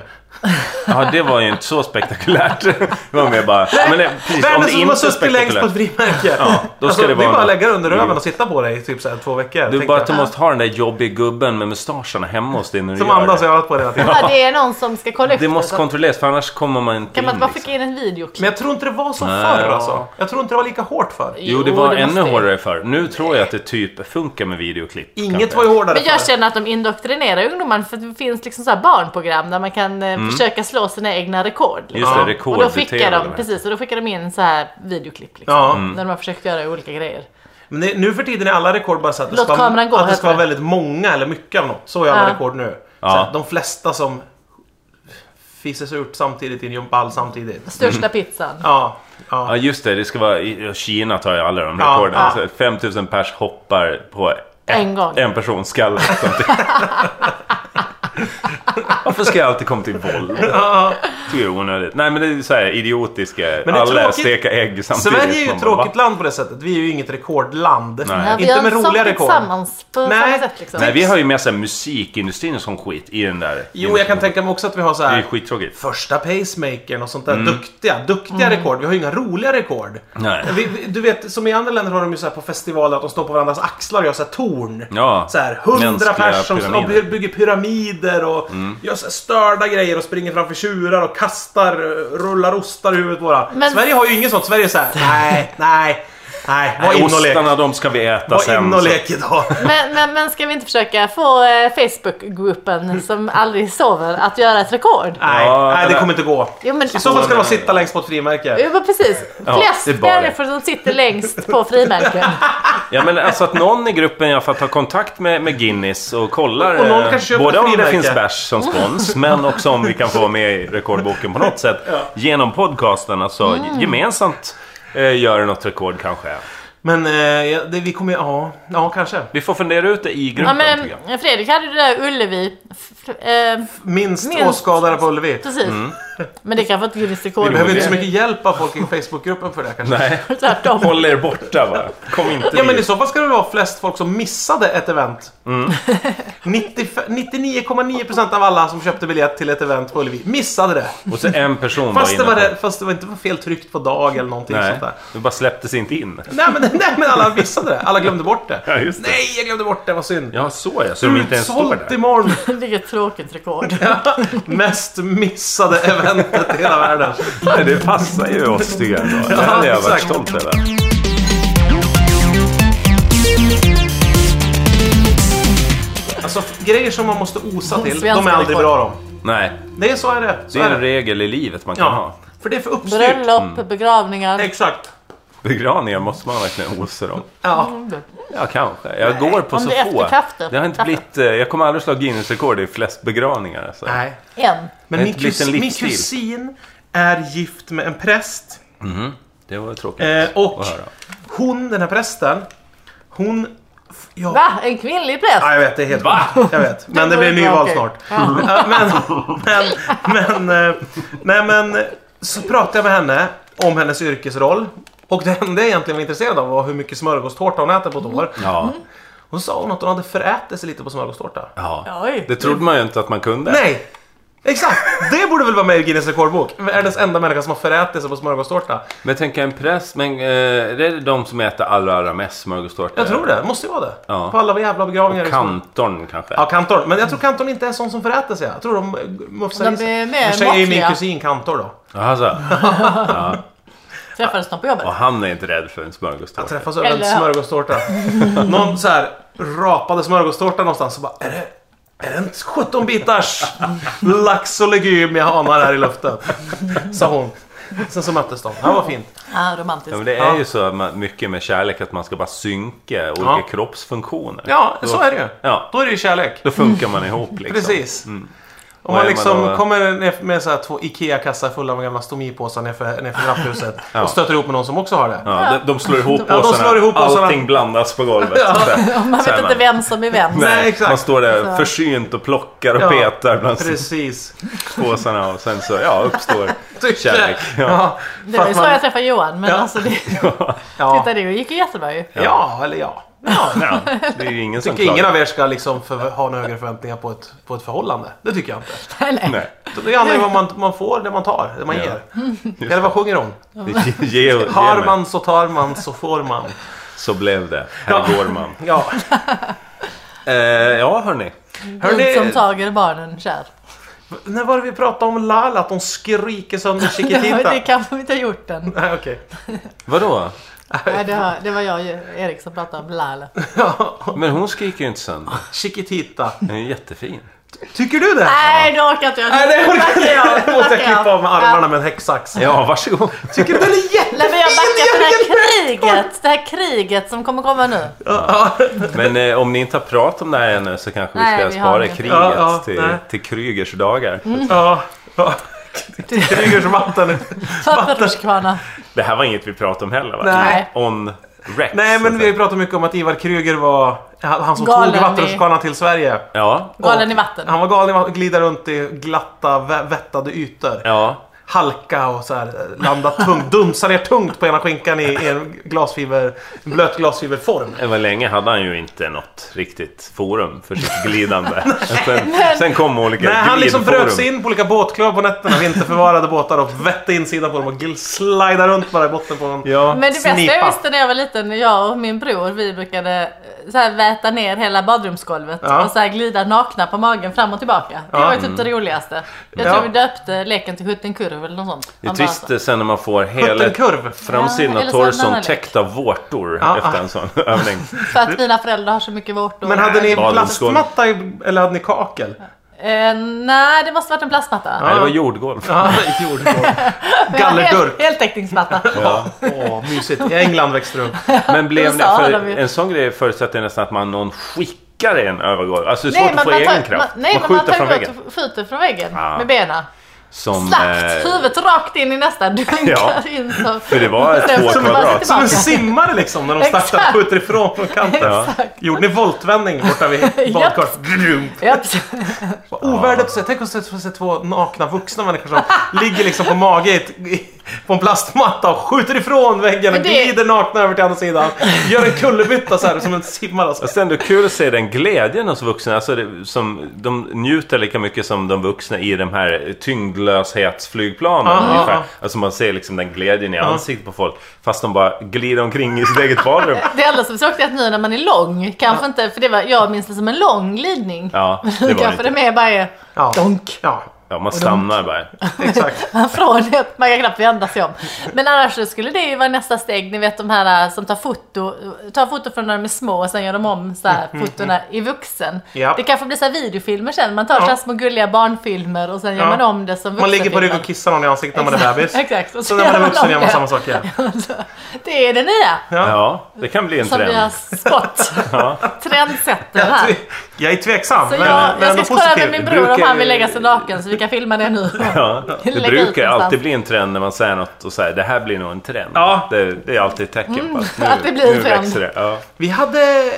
Speaker 2: Ja, det var ju inte så spektakulärt. Det var mer bara... Men det, precis,
Speaker 1: Vem
Speaker 2: om
Speaker 1: är
Speaker 2: det
Speaker 1: det som
Speaker 2: inte
Speaker 1: har
Speaker 2: är
Speaker 1: suttit längst på ett
Speaker 2: spektakulärt.
Speaker 1: frimärke?
Speaker 2: då ska det
Speaker 1: det
Speaker 2: vara
Speaker 1: är bara
Speaker 2: något.
Speaker 1: att lägga det under röven
Speaker 2: Mm.
Speaker 1: och sitta på det i typ så här, två veckor.
Speaker 2: Du
Speaker 1: tänkte
Speaker 2: bara
Speaker 1: jag.
Speaker 2: att du måste ha den där jobbiga gubben med mustascherna hemma hos dig när du
Speaker 1: Som
Speaker 2: gör
Speaker 1: andas
Speaker 2: det.
Speaker 1: har jag hållit på det hela tiden.
Speaker 3: Ja, det är någon som ska kolla efter.
Speaker 2: Det måste
Speaker 3: så att-
Speaker 2: kontrolleras för annars kommer man inte
Speaker 3: kan man
Speaker 2: in,
Speaker 3: inte bara
Speaker 2: liksom.
Speaker 3: skicka in en videoklipp?
Speaker 1: Men jag tror inte det var så
Speaker 2: Nej.
Speaker 1: förr alltså. Jag tror inte det var lika hårt förr.
Speaker 2: Jo, det var
Speaker 3: det måste
Speaker 2: ännu
Speaker 3: ju.
Speaker 2: hårdare förr. Nu tror jag att det typ funkar med videoklipp.
Speaker 1: Inget
Speaker 2: kanske.
Speaker 1: var ju hårdare
Speaker 3: Men jag
Speaker 1: förr.
Speaker 3: känner att de indoktrinerar ungdomar för att det finns liksom så här barnprogram där man kan eh,
Speaker 1: Mm.
Speaker 3: försöka slå sina egna rekord. Liksom.
Speaker 2: Just det,
Speaker 1: Ja.
Speaker 2: rekord
Speaker 3: Och då skickar
Speaker 2: beteende.
Speaker 3: de, precis, och då skickar de in så här videoklipp liksom.
Speaker 1: Ja. Mm.
Speaker 3: När de har försökt göra olika grejer.
Speaker 1: Men det, nu för tiden är alla rekord bara så att det
Speaker 3: Låt
Speaker 1: ska,
Speaker 3: kameran gå,
Speaker 1: att det
Speaker 3: heter
Speaker 1: ska vara
Speaker 3: det.
Speaker 1: väldigt många eller mycket av något. Så är alla
Speaker 3: Ja.
Speaker 1: rekord nu.
Speaker 2: Ja.
Speaker 1: Så att de flesta som fises ut samtidigt i en gympahall samtidigt.
Speaker 3: Största pizzan.
Speaker 1: Ja, ja.
Speaker 2: Ja just det, det ska vara i Kina tar ju alla de
Speaker 1: Ja,
Speaker 2: rekorden.
Speaker 1: ja.
Speaker 2: Så 5000 pers hoppar på ett,
Speaker 3: En gång.
Speaker 2: en persons skalle samtidigt. Varför ska jag alltid komma till våld? Tycker jag är onödigt. Nej men det är ju så här idiotiska.
Speaker 1: Men det är
Speaker 2: alla
Speaker 1: tråkigt.
Speaker 2: steka ägg samtidigt.
Speaker 1: Sverige är ju
Speaker 2: Man
Speaker 1: ett
Speaker 2: bara,
Speaker 1: tråkigt land på det sättet. Vi är ju inget rekordland.
Speaker 2: Nej.
Speaker 3: Ja, vi
Speaker 1: Inte
Speaker 3: har
Speaker 1: med
Speaker 3: en
Speaker 1: roliga
Speaker 3: sak
Speaker 1: rekord.
Speaker 3: tillsammans på
Speaker 1: Nej.
Speaker 3: samma sätt liksom.
Speaker 2: Nej vi har ju med sig musikindustrin och sån skit i den där.
Speaker 1: Jo, jag kan tänka mig också att vi har så
Speaker 2: Det är ju
Speaker 1: här
Speaker 2: skittråkigt.
Speaker 1: första pacemakern och sånt där. Duktiga, duktiga
Speaker 3: Mm.
Speaker 1: rekord. Vi har ju inga roliga rekord.
Speaker 2: Nej.
Speaker 1: Vi, vi, du vet, som i andra länder har de ju så här på festivaler att de står på varandras axlar och gör så här torn.
Speaker 2: Ja,
Speaker 1: Så här, hundra
Speaker 2: mänskliga
Speaker 1: personer och
Speaker 2: pyramider. Mm.
Speaker 1: by- bygger pyramider och gör så här störda grejer och springer framför tjurar och kastar, eh, rullar ostar i huvudet på varandra.
Speaker 3: Men-
Speaker 1: Sverige har ju inget sånt. Sverige är så här, nej, nej, nej. Var in och lek.
Speaker 2: Ostarna de ska vi äta
Speaker 1: Var
Speaker 2: sen.
Speaker 1: in och lek idag.
Speaker 3: Men, men, men ska vi inte försöka få eh, Facebookgruppen som aldrig sover att göra ett rekord?
Speaker 1: Nej,
Speaker 2: Ja,
Speaker 1: nej, det
Speaker 2: eller-
Speaker 1: kommer inte gå.
Speaker 3: Jo men,
Speaker 1: I så fall ska de
Speaker 2: men-
Speaker 1: sitta längst på ett frimärke.
Speaker 3: jo, men precis.
Speaker 2: Ja,
Speaker 3: Flest
Speaker 2: det är bara det.
Speaker 3: människor som sitter längst på frimärken.
Speaker 2: Ja men alltså att någon i gruppen i alla fall tar kontakt med, med Guinness och kollar
Speaker 1: Och någon
Speaker 2: eh,
Speaker 1: kanske köper
Speaker 2: både
Speaker 1: ett
Speaker 2: om det
Speaker 1: frimärke.
Speaker 2: finns bärs som spons men också om vi kan få vara med i rekordboken på något sätt genom podcasten. Alltså
Speaker 1: Mm.
Speaker 2: gemensamt eh, gör något rekord kanske.
Speaker 1: Men eh, ja, det, vi kommer ju, ja, ja kanske.
Speaker 2: Vi får fundera ut det i
Speaker 3: Ja,
Speaker 2: gruppen.
Speaker 3: men,
Speaker 2: tycker jag.
Speaker 3: Fredrik hade ju det där Ullevi. F- f- eh,
Speaker 1: Minst,
Speaker 3: Minst.
Speaker 1: åskådare på Ullevi.
Speaker 3: precis. Men det kanske inte Guinness rekord.
Speaker 1: Mm. Vi behöver inte så
Speaker 2: det-
Speaker 1: mycket hjälp av folk i Facebookgruppen för det här, kanske.
Speaker 2: Nej,
Speaker 3: Tvärtom.
Speaker 2: håll er borta va. Kom inte
Speaker 1: Ja men i
Speaker 2: dit.
Speaker 1: så fall ska det vara flest folk som missade ett event.
Speaker 2: Mm.
Speaker 1: 95 99,9% av alla som köpte biljett till ett event på Ullevi missade det.
Speaker 2: Och så en person var
Speaker 1: Fast
Speaker 2: inne
Speaker 1: det
Speaker 2: på
Speaker 1: var, det, fast det var inte var fel tryckt på dag eller någonting
Speaker 2: Nej,
Speaker 1: sånt där.
Speaker 2: det bara släpptes inte in.
Speaker 1: Nej men, nej men alla missade det. Alla glömde bort det.
Speaker 2: Ja, just det.
Speaker 1: Nej, jag glömde bort det. Vad synd.
Speaker 2: Ja, så ja. Så de inte ens står
Speaker 1: Utsålt
Speaker 2: där.
Speaker 1: imorgon.
Speaker 3: Vilket tråkigt rekord.
Speaker 1: Mest missade eventet i hela världen.
Speaker 2: Nej, det passar ju oss tycker jag. ändå. Det hade jag varit
Speaker 1: exakt.
Speaker 2: stolt över.
Speaker 1: Alltså grejer som man måste osa till,
Speaker 3: Svenska
Speaker 1: de är aldrig
Speaker 3: rekord.
Speaker 1: bra de.
Speaker 2: Nej,
Speaker 1: Det är så är det. Så
Speaker 2: det är
Speaker 1: är
Speaker 2: en
Speaker 1: det.
Speaker 2: regel i livet man kan ha.
Speaker 1: Ja, för det är för uppstyrt.
Speaker 3: Bröllop, begravningar.
Speaker 1: Exakt.
Speaker 2: Begravningar måste man verkligen osa dem.
Speaker 1: Ja.
Speaker 2: Ja, kanske. Jag går på
Speaker 3: om
Speaker 2: så
Speaker 3: det är
Speaker 2: få.
Speaker 3: efter kaffe.
Speaker 2: Det har inte
Speaker 3: Kaffe.
Speaker 2: blivit, eh, jag kommer aldrig slå Guinness-rekord i flest begravningar. Alltså.
Speaker 1: Nej.
Speaker 3: En.
Speaker 1: Men
Speaker 2: Det är
Speaker 1: min,
Speaker 2: inte lite en
Speaker 1: kus, min
Speaker 2: livsstil.
Speaker 1: kusin är gift med en präst.
Speaker 2: Det var tråkigt
Speaker 1: Eh, och
Speaker 2: att höra.
Speaker 1: hon, den här prästen, hon... f- Ja,
Speaker 3: Va? En kvinnlig präst?
Speaker 1: ja jag vet, det är helt Va? Jag vet. Men det
Speaker 3: går
Speaker 1: blir
Speaker 3: bra,
Speaker 1: nyval
Speaker 3: okej.
Speaker 1: snart.
Speaker 3: Ja.
Speaker 1: Eh, Men, men, men, eh, nej men, eh, så pratade jag med henne om hennes yrkesroll. Och det enda jag egentligen var intresserad av var hur mycket smörgåstårta hon äter på ett år.
Speaker 2: Ja.
Speaker 1: Hon sa hon att hon hade förätit sig lite på smörgåstårta.
Speaker 2: ja.
Speaker 3: Oj.
Speaker 2: Det trodde man ju inte att man kunde.
Speaker 1: Nej! Exakt! Det borde väl vara med i Guinness rekordbok? Världens enda människa som har förätit sig på smörgåstårta.
Speaker 2: Men tänk en präst, men eh, det är de som äter allra, allra mest smörgåstårta.
Speaker 1: Jag tror det, måste ju vara det.
Speaker 2: Ja.
Speaker 1: På alla jävla begravningar. i Skåne.
Speaker 2: Kantorn kanske.
Speaker 1: Ja, Kantor. Men jag tror Kantor inte är sån som föräter sig. Jag tror de eh, mufsar
Speaker 3: De
Speaker 1: i sig.
Speaker 3: är mer
Speaker 1: I och för sig är ju min
Speaker 3: måttliga.
Speaker 1: kusin Kantor då.
Speaker 2: Jaha, så.
Speaker 3: Träffades de på jobbet?
Speaker 2: alltså, Och han är inte rädd för en
Speaker 1: Jag
Speaker 2: smörgåstårta.
Speaker 1: träffas över en
Speaker 3: Eller-
Speaker 1: smörgåstårta. Någon så här rapade smörgåstårta någonstans så bara är det, är det en 17 bitars lax och legum jag anar här i luften? Sa hon. Sen så möttes de. Ja, vad fint.
Speaker 3: Ah,
Speaker 2: Ja, men
Speaker 3: romantiskt.
Speaker 2: det
Speaker 1: Ja.
Speaker 2: är ju så ma- mycket med kärlek att man ska bara synka olika
Speaker 1: Ja.
Speaker 2: kroppsfunktioner.
Speaker 1: Ja, så är det ju.
Speaker 2: Ja,
Speaker 1: Då är det ju kärlek.
Speaker 2: då funkar man ihop liksom.
Speaker 1: Precis. Om
Speaker 2: Vad
Speaker 1: man
Speaker 2: är
Speaker 1: liksom
Speaker 2: man då?
Speaker 1: kommer ner med så här två IKEA-kassar fulla med gamla stomipåsar nerför, nerför trapphuset
Speaker 2: Ja.
Speaker 1: och stöter ihop med någon som också har det.
Speaker 2: Ja, de, de slår ihop
Speaker 1: Ja, de
Speaker 2: påsarna.
Speaker 1: slår ihop påsarna.
Speaker 2: Allting blandas på golvet.
Speaker 1: Ja.
Speaker 2: Så här.
Speaker 3: Man
Speaker 2: Så
Speaker 3: vet
Speaker 2: här
Speaker 3: inte vem som är vem.
Speaker 1: Nej,
Speaker 2: Nej,
Speaker 1: exakt.
Speaker 2: Man står där
Speaker 3: Så.
Speaker 2: försynt och plockar och
Speaker 1: Ja,
Speaker 2: petar bland
Speaker 1: Precis.
Speaker 2: påsarna och sen så ja, uppstår kärlek. Ja.
Speaker 1: Ja.
Speaker 3: Det var ju
Speaker 1: Fast
Speaker 3: så
Speaker 1: man-
Speaker 3: jag träffade Johan. Men
Speaker 1: Ja.
Speaker 3: alltså, det,
Speaker 1: Ja.
Speaker 3: titta, det gick ju jättebra ju.
Speaker 1: ja, eller ja. ja.
Speaker 2: Ja, det är ju ingen som
Speaker 1: tycker ingen
Speaker 2: klagar.
Speaker 1: av er ska liksom för, ha några högre förväntningar på ett, på ett förhållande. Det tycker jag inte.
Speaker 3: Eller?
Speaker 2: Nej,
Speaker 1: Det handlar ju om vad man, man får, det man tar, det man
Speaker 2: Ja.
Speaker 1: ger.
Speaker 3: Mm.
Speaker 1: Eller vad sjunger hon?
Speaker 2: ge, ge, ge
Speaker 1: Har
Speaker 2: mig.
Speaker 1: man så tar man så får man.
Speaker 2: Så blev det. Här
Speaker 1: Ja.
Speaker 2: går man.
Speaker 1: Ja.
Speaker 2: Eh, ja, hörni.
Speaker 1: Hörrni-
Speaker 3: Gud som tager barnen kär.
Speaker 1: När var det vi pratade om Lala? Att hon skriker sönder Chiquitita?
Speaker 3: Det kanske vi inte har gjort än.
Speaker 1: Nej, okej.
Speaker 2: Vadå?
Speaker 3: Nej, det, har, det var jag och Erik som pratade om Lala.
Speaker 2: Men hon skriker ju inte sönder.
Speaker 1: Chiquitita.
Speaker 2: Hon är ju jättefin.
Speaker 1: Tycker du det?
Speaker 3: Nej, det orkar inte jag.
Speaker 1: Nej, det orkar
Speaker 3: Backar jag.
Speaker 1: jag. Då måste jag
Speaker 3: Backar jag.
Speaker 1: klippa av med armarna med en häcksax.
Speaker 2: Ja, varsågod.
Speaker 1: Tycker du den är jätte...
Speaker 3: Nej men jag backar för det här kriget, det här kriget som kommer komma nu.
Speaker 2: Men eh, om ni inte har pratat om det här ännu så kanske
Speaker 3: Nej,
Speaker 2: vi ska
Speaker 3: vi har
Speaker 2: spara
Speaker 3: inget.
Speaker 2: kriget
Speaker 1: Ja, ja, nej.
Speaker 2: till, till Krygers dagar.
Speaker 1: Ja. ja. Krygers vatten.
Speaker 3: Papperskvarna.
Speaker 2: Det här var inget vi pratade om heller va?
Speaker 1: Nej.
Speaker 2: On Rex.
Speaker 1: Nej, men
Speaker 2: så
Speaker 1: vi har ju
Speaker 2: att
Speaker 1: pratat mycket om att Ivar Kryger var han han som
Speaker 3: Galen
Speaker 1: tog
Speaker 3: i-
Speaker 1: vattenrutschkanan till Sverige.
Speaker 2: säga. Ja.
Speaker 3: Galen
Speaker 1: Och
Speaker 3: i vatten.
Speaker 1: Han var galen i att glida runt i glatta, vä- vättade ytor.
Speaker 2: Ja.
Speaker 1: Halka och så här, eh, landa tungt, dunsa ner tungt på ena skinkan i, i en glasfiber, en blöt glasfiberform.
Speaker 2: Det var länge hade han ju inte något riktigt forum för sitt glidande. sen, sen kom olika
Speaker 1: Nej, han liksom
Speaker 2: glidforum.
Speaker 1: bröt sig in på olika båtklubbar på nätterna, vinterförvarade båtar och vette insidan på dem och gl- slida runt bara i botten på någon
Speaker 2: Ja.
Speaker 3: Men det bästa jag
Speaker 1: Snipa.
Speaker 3: visste när jag var liten, jag och min bror, vi brukade eh, så här väta ner hela badrumsgolvet
Speaker 1: Ja.
Speaker 3: och så här glida nakna på magen fram och tillbaka. Det var ju typ det
Speaker 2: Mm.
Speaker 3: roligaste. Jag tror
Speaker 1: Ja.
Speaker 3: vi döpte leken till Huttenkurv eller något sånt.
Speaker 2: Det är
Speaker 3: Man bara
Speaker 2: trist eh,
Speaker 1: Alltså.
Speaker 2: sen när man får hela
Speaker 1: Puttenkurv.
Speaker 2: framsidan
Speaker 3: Ja,
Speaker 2: av
Speaker 3: eller så en annan
Speaker 2: torson
Speaker 3: lek.
Speaker 2: täckt av vårtor
Speaker 1: Ja,
Speaker 2: efter
Speaker 1: ja.
Speaker 2: en sån övning.
Speaker 3: så- För att mina föräldrar har så mycket vårtor.
Speaker 1: Men hade ni
Speaker 2: Badrumsgolv.
Speaker 1: plastmatta i- eller hade ni kakel?
Speaker 3: Eh, nej, det måste varit en plastmatta.
Speaker 2: Nej, det var jordgolv.
Speaker 1: Ja, jordgolv.
Speaker 3: Men jag har
Speaker 1: Gallerdurk.
Speaker 3: hel- Heltäckningsmatta.
Speaker 2: Ja.
Speaker 1: Åh, mysigt. I England växte du upp.
Speaker 2: Men blev det,
Speaker 3: USA har de
Speaker 2: för
Speaker 3: ju.
Speaker 2: en sån grej förutsätter nästan att man någon skickar en över golvet. Alltså det är
Speaker 3: Nej,
Speaker 2: svårt att
Speaker 3: men
Speaker 2: få
Speaker 3: man
Speaker 2: egen
Speaker 3: tar, man,
Speaker 2: kraft.
Speaker 3: nej,
Speaker 2: man
Speaker 3: men man
Speaker 2: skjuter
Speaker 3: tar
Speaker 2: från väggen.
Speaker 3: emot och skjuter från väggen
Speaker 2: Ah.
Speaker 3: med benen.
Speaker 2: Som,
Speaker 1: Eh,
Speaker 3: Slakt! Huvudet rakt in i nästa. Dunkar
Speaker 2: Ja,
Speaker 3: in så.
Speaker 2: för det var
Speaker 3: Sen
Speaker 2: två
Speaker 3: så bara
Speaker 2: kvadrat.
Speaker 3: tillbaka.
Speaker 1: Som en simmare liksom när de
Speaker 3: Exakt.
Speaker 1: startar skjuter ifrån från kanten.
Speaker 2: Ja.
Speaker 1: Gjorde ni voltvändning borta vid badkaret? Grum.
Speaker 3: Japp.
Speaker 1: Vad Ovärdigt att se. Tänk att se, få se två nakna vuxna människor som ligger liksom på mage i ett- i- på en plastmatta och skjuter ifrån väggen och
Speaker 3: Men det-
Speaker 1: glider nakna över till andra sidan. Gör en kullerbytta så här som en simmare. Alltså.
Speaker 2: Och sen det är kul att se den glädjen hos vuxna. Alltså det, som, de njuter lika mycket som de vuxna i de här tyngdlöshetsflygplanen.
Speaker 1: Ja,
Speaker 2: ungefär.
Speaker 1: ja,
Speaker 2: Alltså man ser liksom den glädjen i ansiktet på folk. Fast de bara glider omkring i sitt eget badrum.
Speaker 3: Det enda som är tråkigt är att nu när man är lång, kanske inte, för det var, jag minns det som en lång glidning.
Speaker 2: Ja, det
Speaker 3: Nu
Speaker 2: var det
Speaker 3: kanske det
Speaker 2: inte.
Speaker 3: mer bara är
Speaker 1: Ja.
Speaker 3: donk.
Speaker 1: Ja,
Speaker 2: Ja, man stannar bara.
Speaker 1: exakt.
Speaker 3: Från ett, man kan knappt vända sig om. Men annars så skulle det ju vara nästa steg, ni vet de här äh, som tar foto, tar foto från när de är små och sen gör de om så här, fotona i vuxen.
Speaker 1: Mm, Ja.
Speaker 3: Det kanske blir så här videofilmer sen, man tar så här små gulliga barnfilmer och sen gör
Speaker 1: Ja.
Speaker 3: man om det som
Speaker 1: Man
Speaker 3: vuxenfilmer.
Speaker 1: ligger på rygg och kissar någon i ansiktet när man är
Speaker 3: Exakt,
Speaker 1: bebis.
Speaker 3: Exakt. Och
Speaker 1: Så när man är vuxen gör man
Speaker 3: det.
Speaker 1: samma sak igen.
Speaker 3: Det är det nya
Speaker 1: Ja.
Speaker 2: Ja, det kan bli en
Speaker 3: som vi har
Speaker 2: trend.
Speaker 3: spått. Trendsetter
Speaker 1: Jag,
Speaker 3: här.
Speaker 1: ty- jag är tveksam,
Speaker 3: Så
Speaker 1: men,
Speaker 3: jag,
Speaker 1: men ändå
Speaker 3: jag ska kolla med
Speaker 1: positiv.
Speaker 3: min bror om
Speaker 2: Brukar-
Speaker 3: han vill lägga sig naken så vi kan filma det nu.
Speaker 2: Ja, det
Speaker 3: Lägga ut
Speaker 2: brukar
Speaker 3: någonstans.
Speaker 2: alltid bli en trend när man säger något och säger det här blir nog en trend.
Speaker 1: Ja.
Speaker 2: Det, det är alltid ett tecken på att nu,
Speaker 3: Mm, att det blir en
Speaker 2: nu
Speaker 3: trend.
Speaker 2: växer det. Ja.
Speaker 1: Vi hade...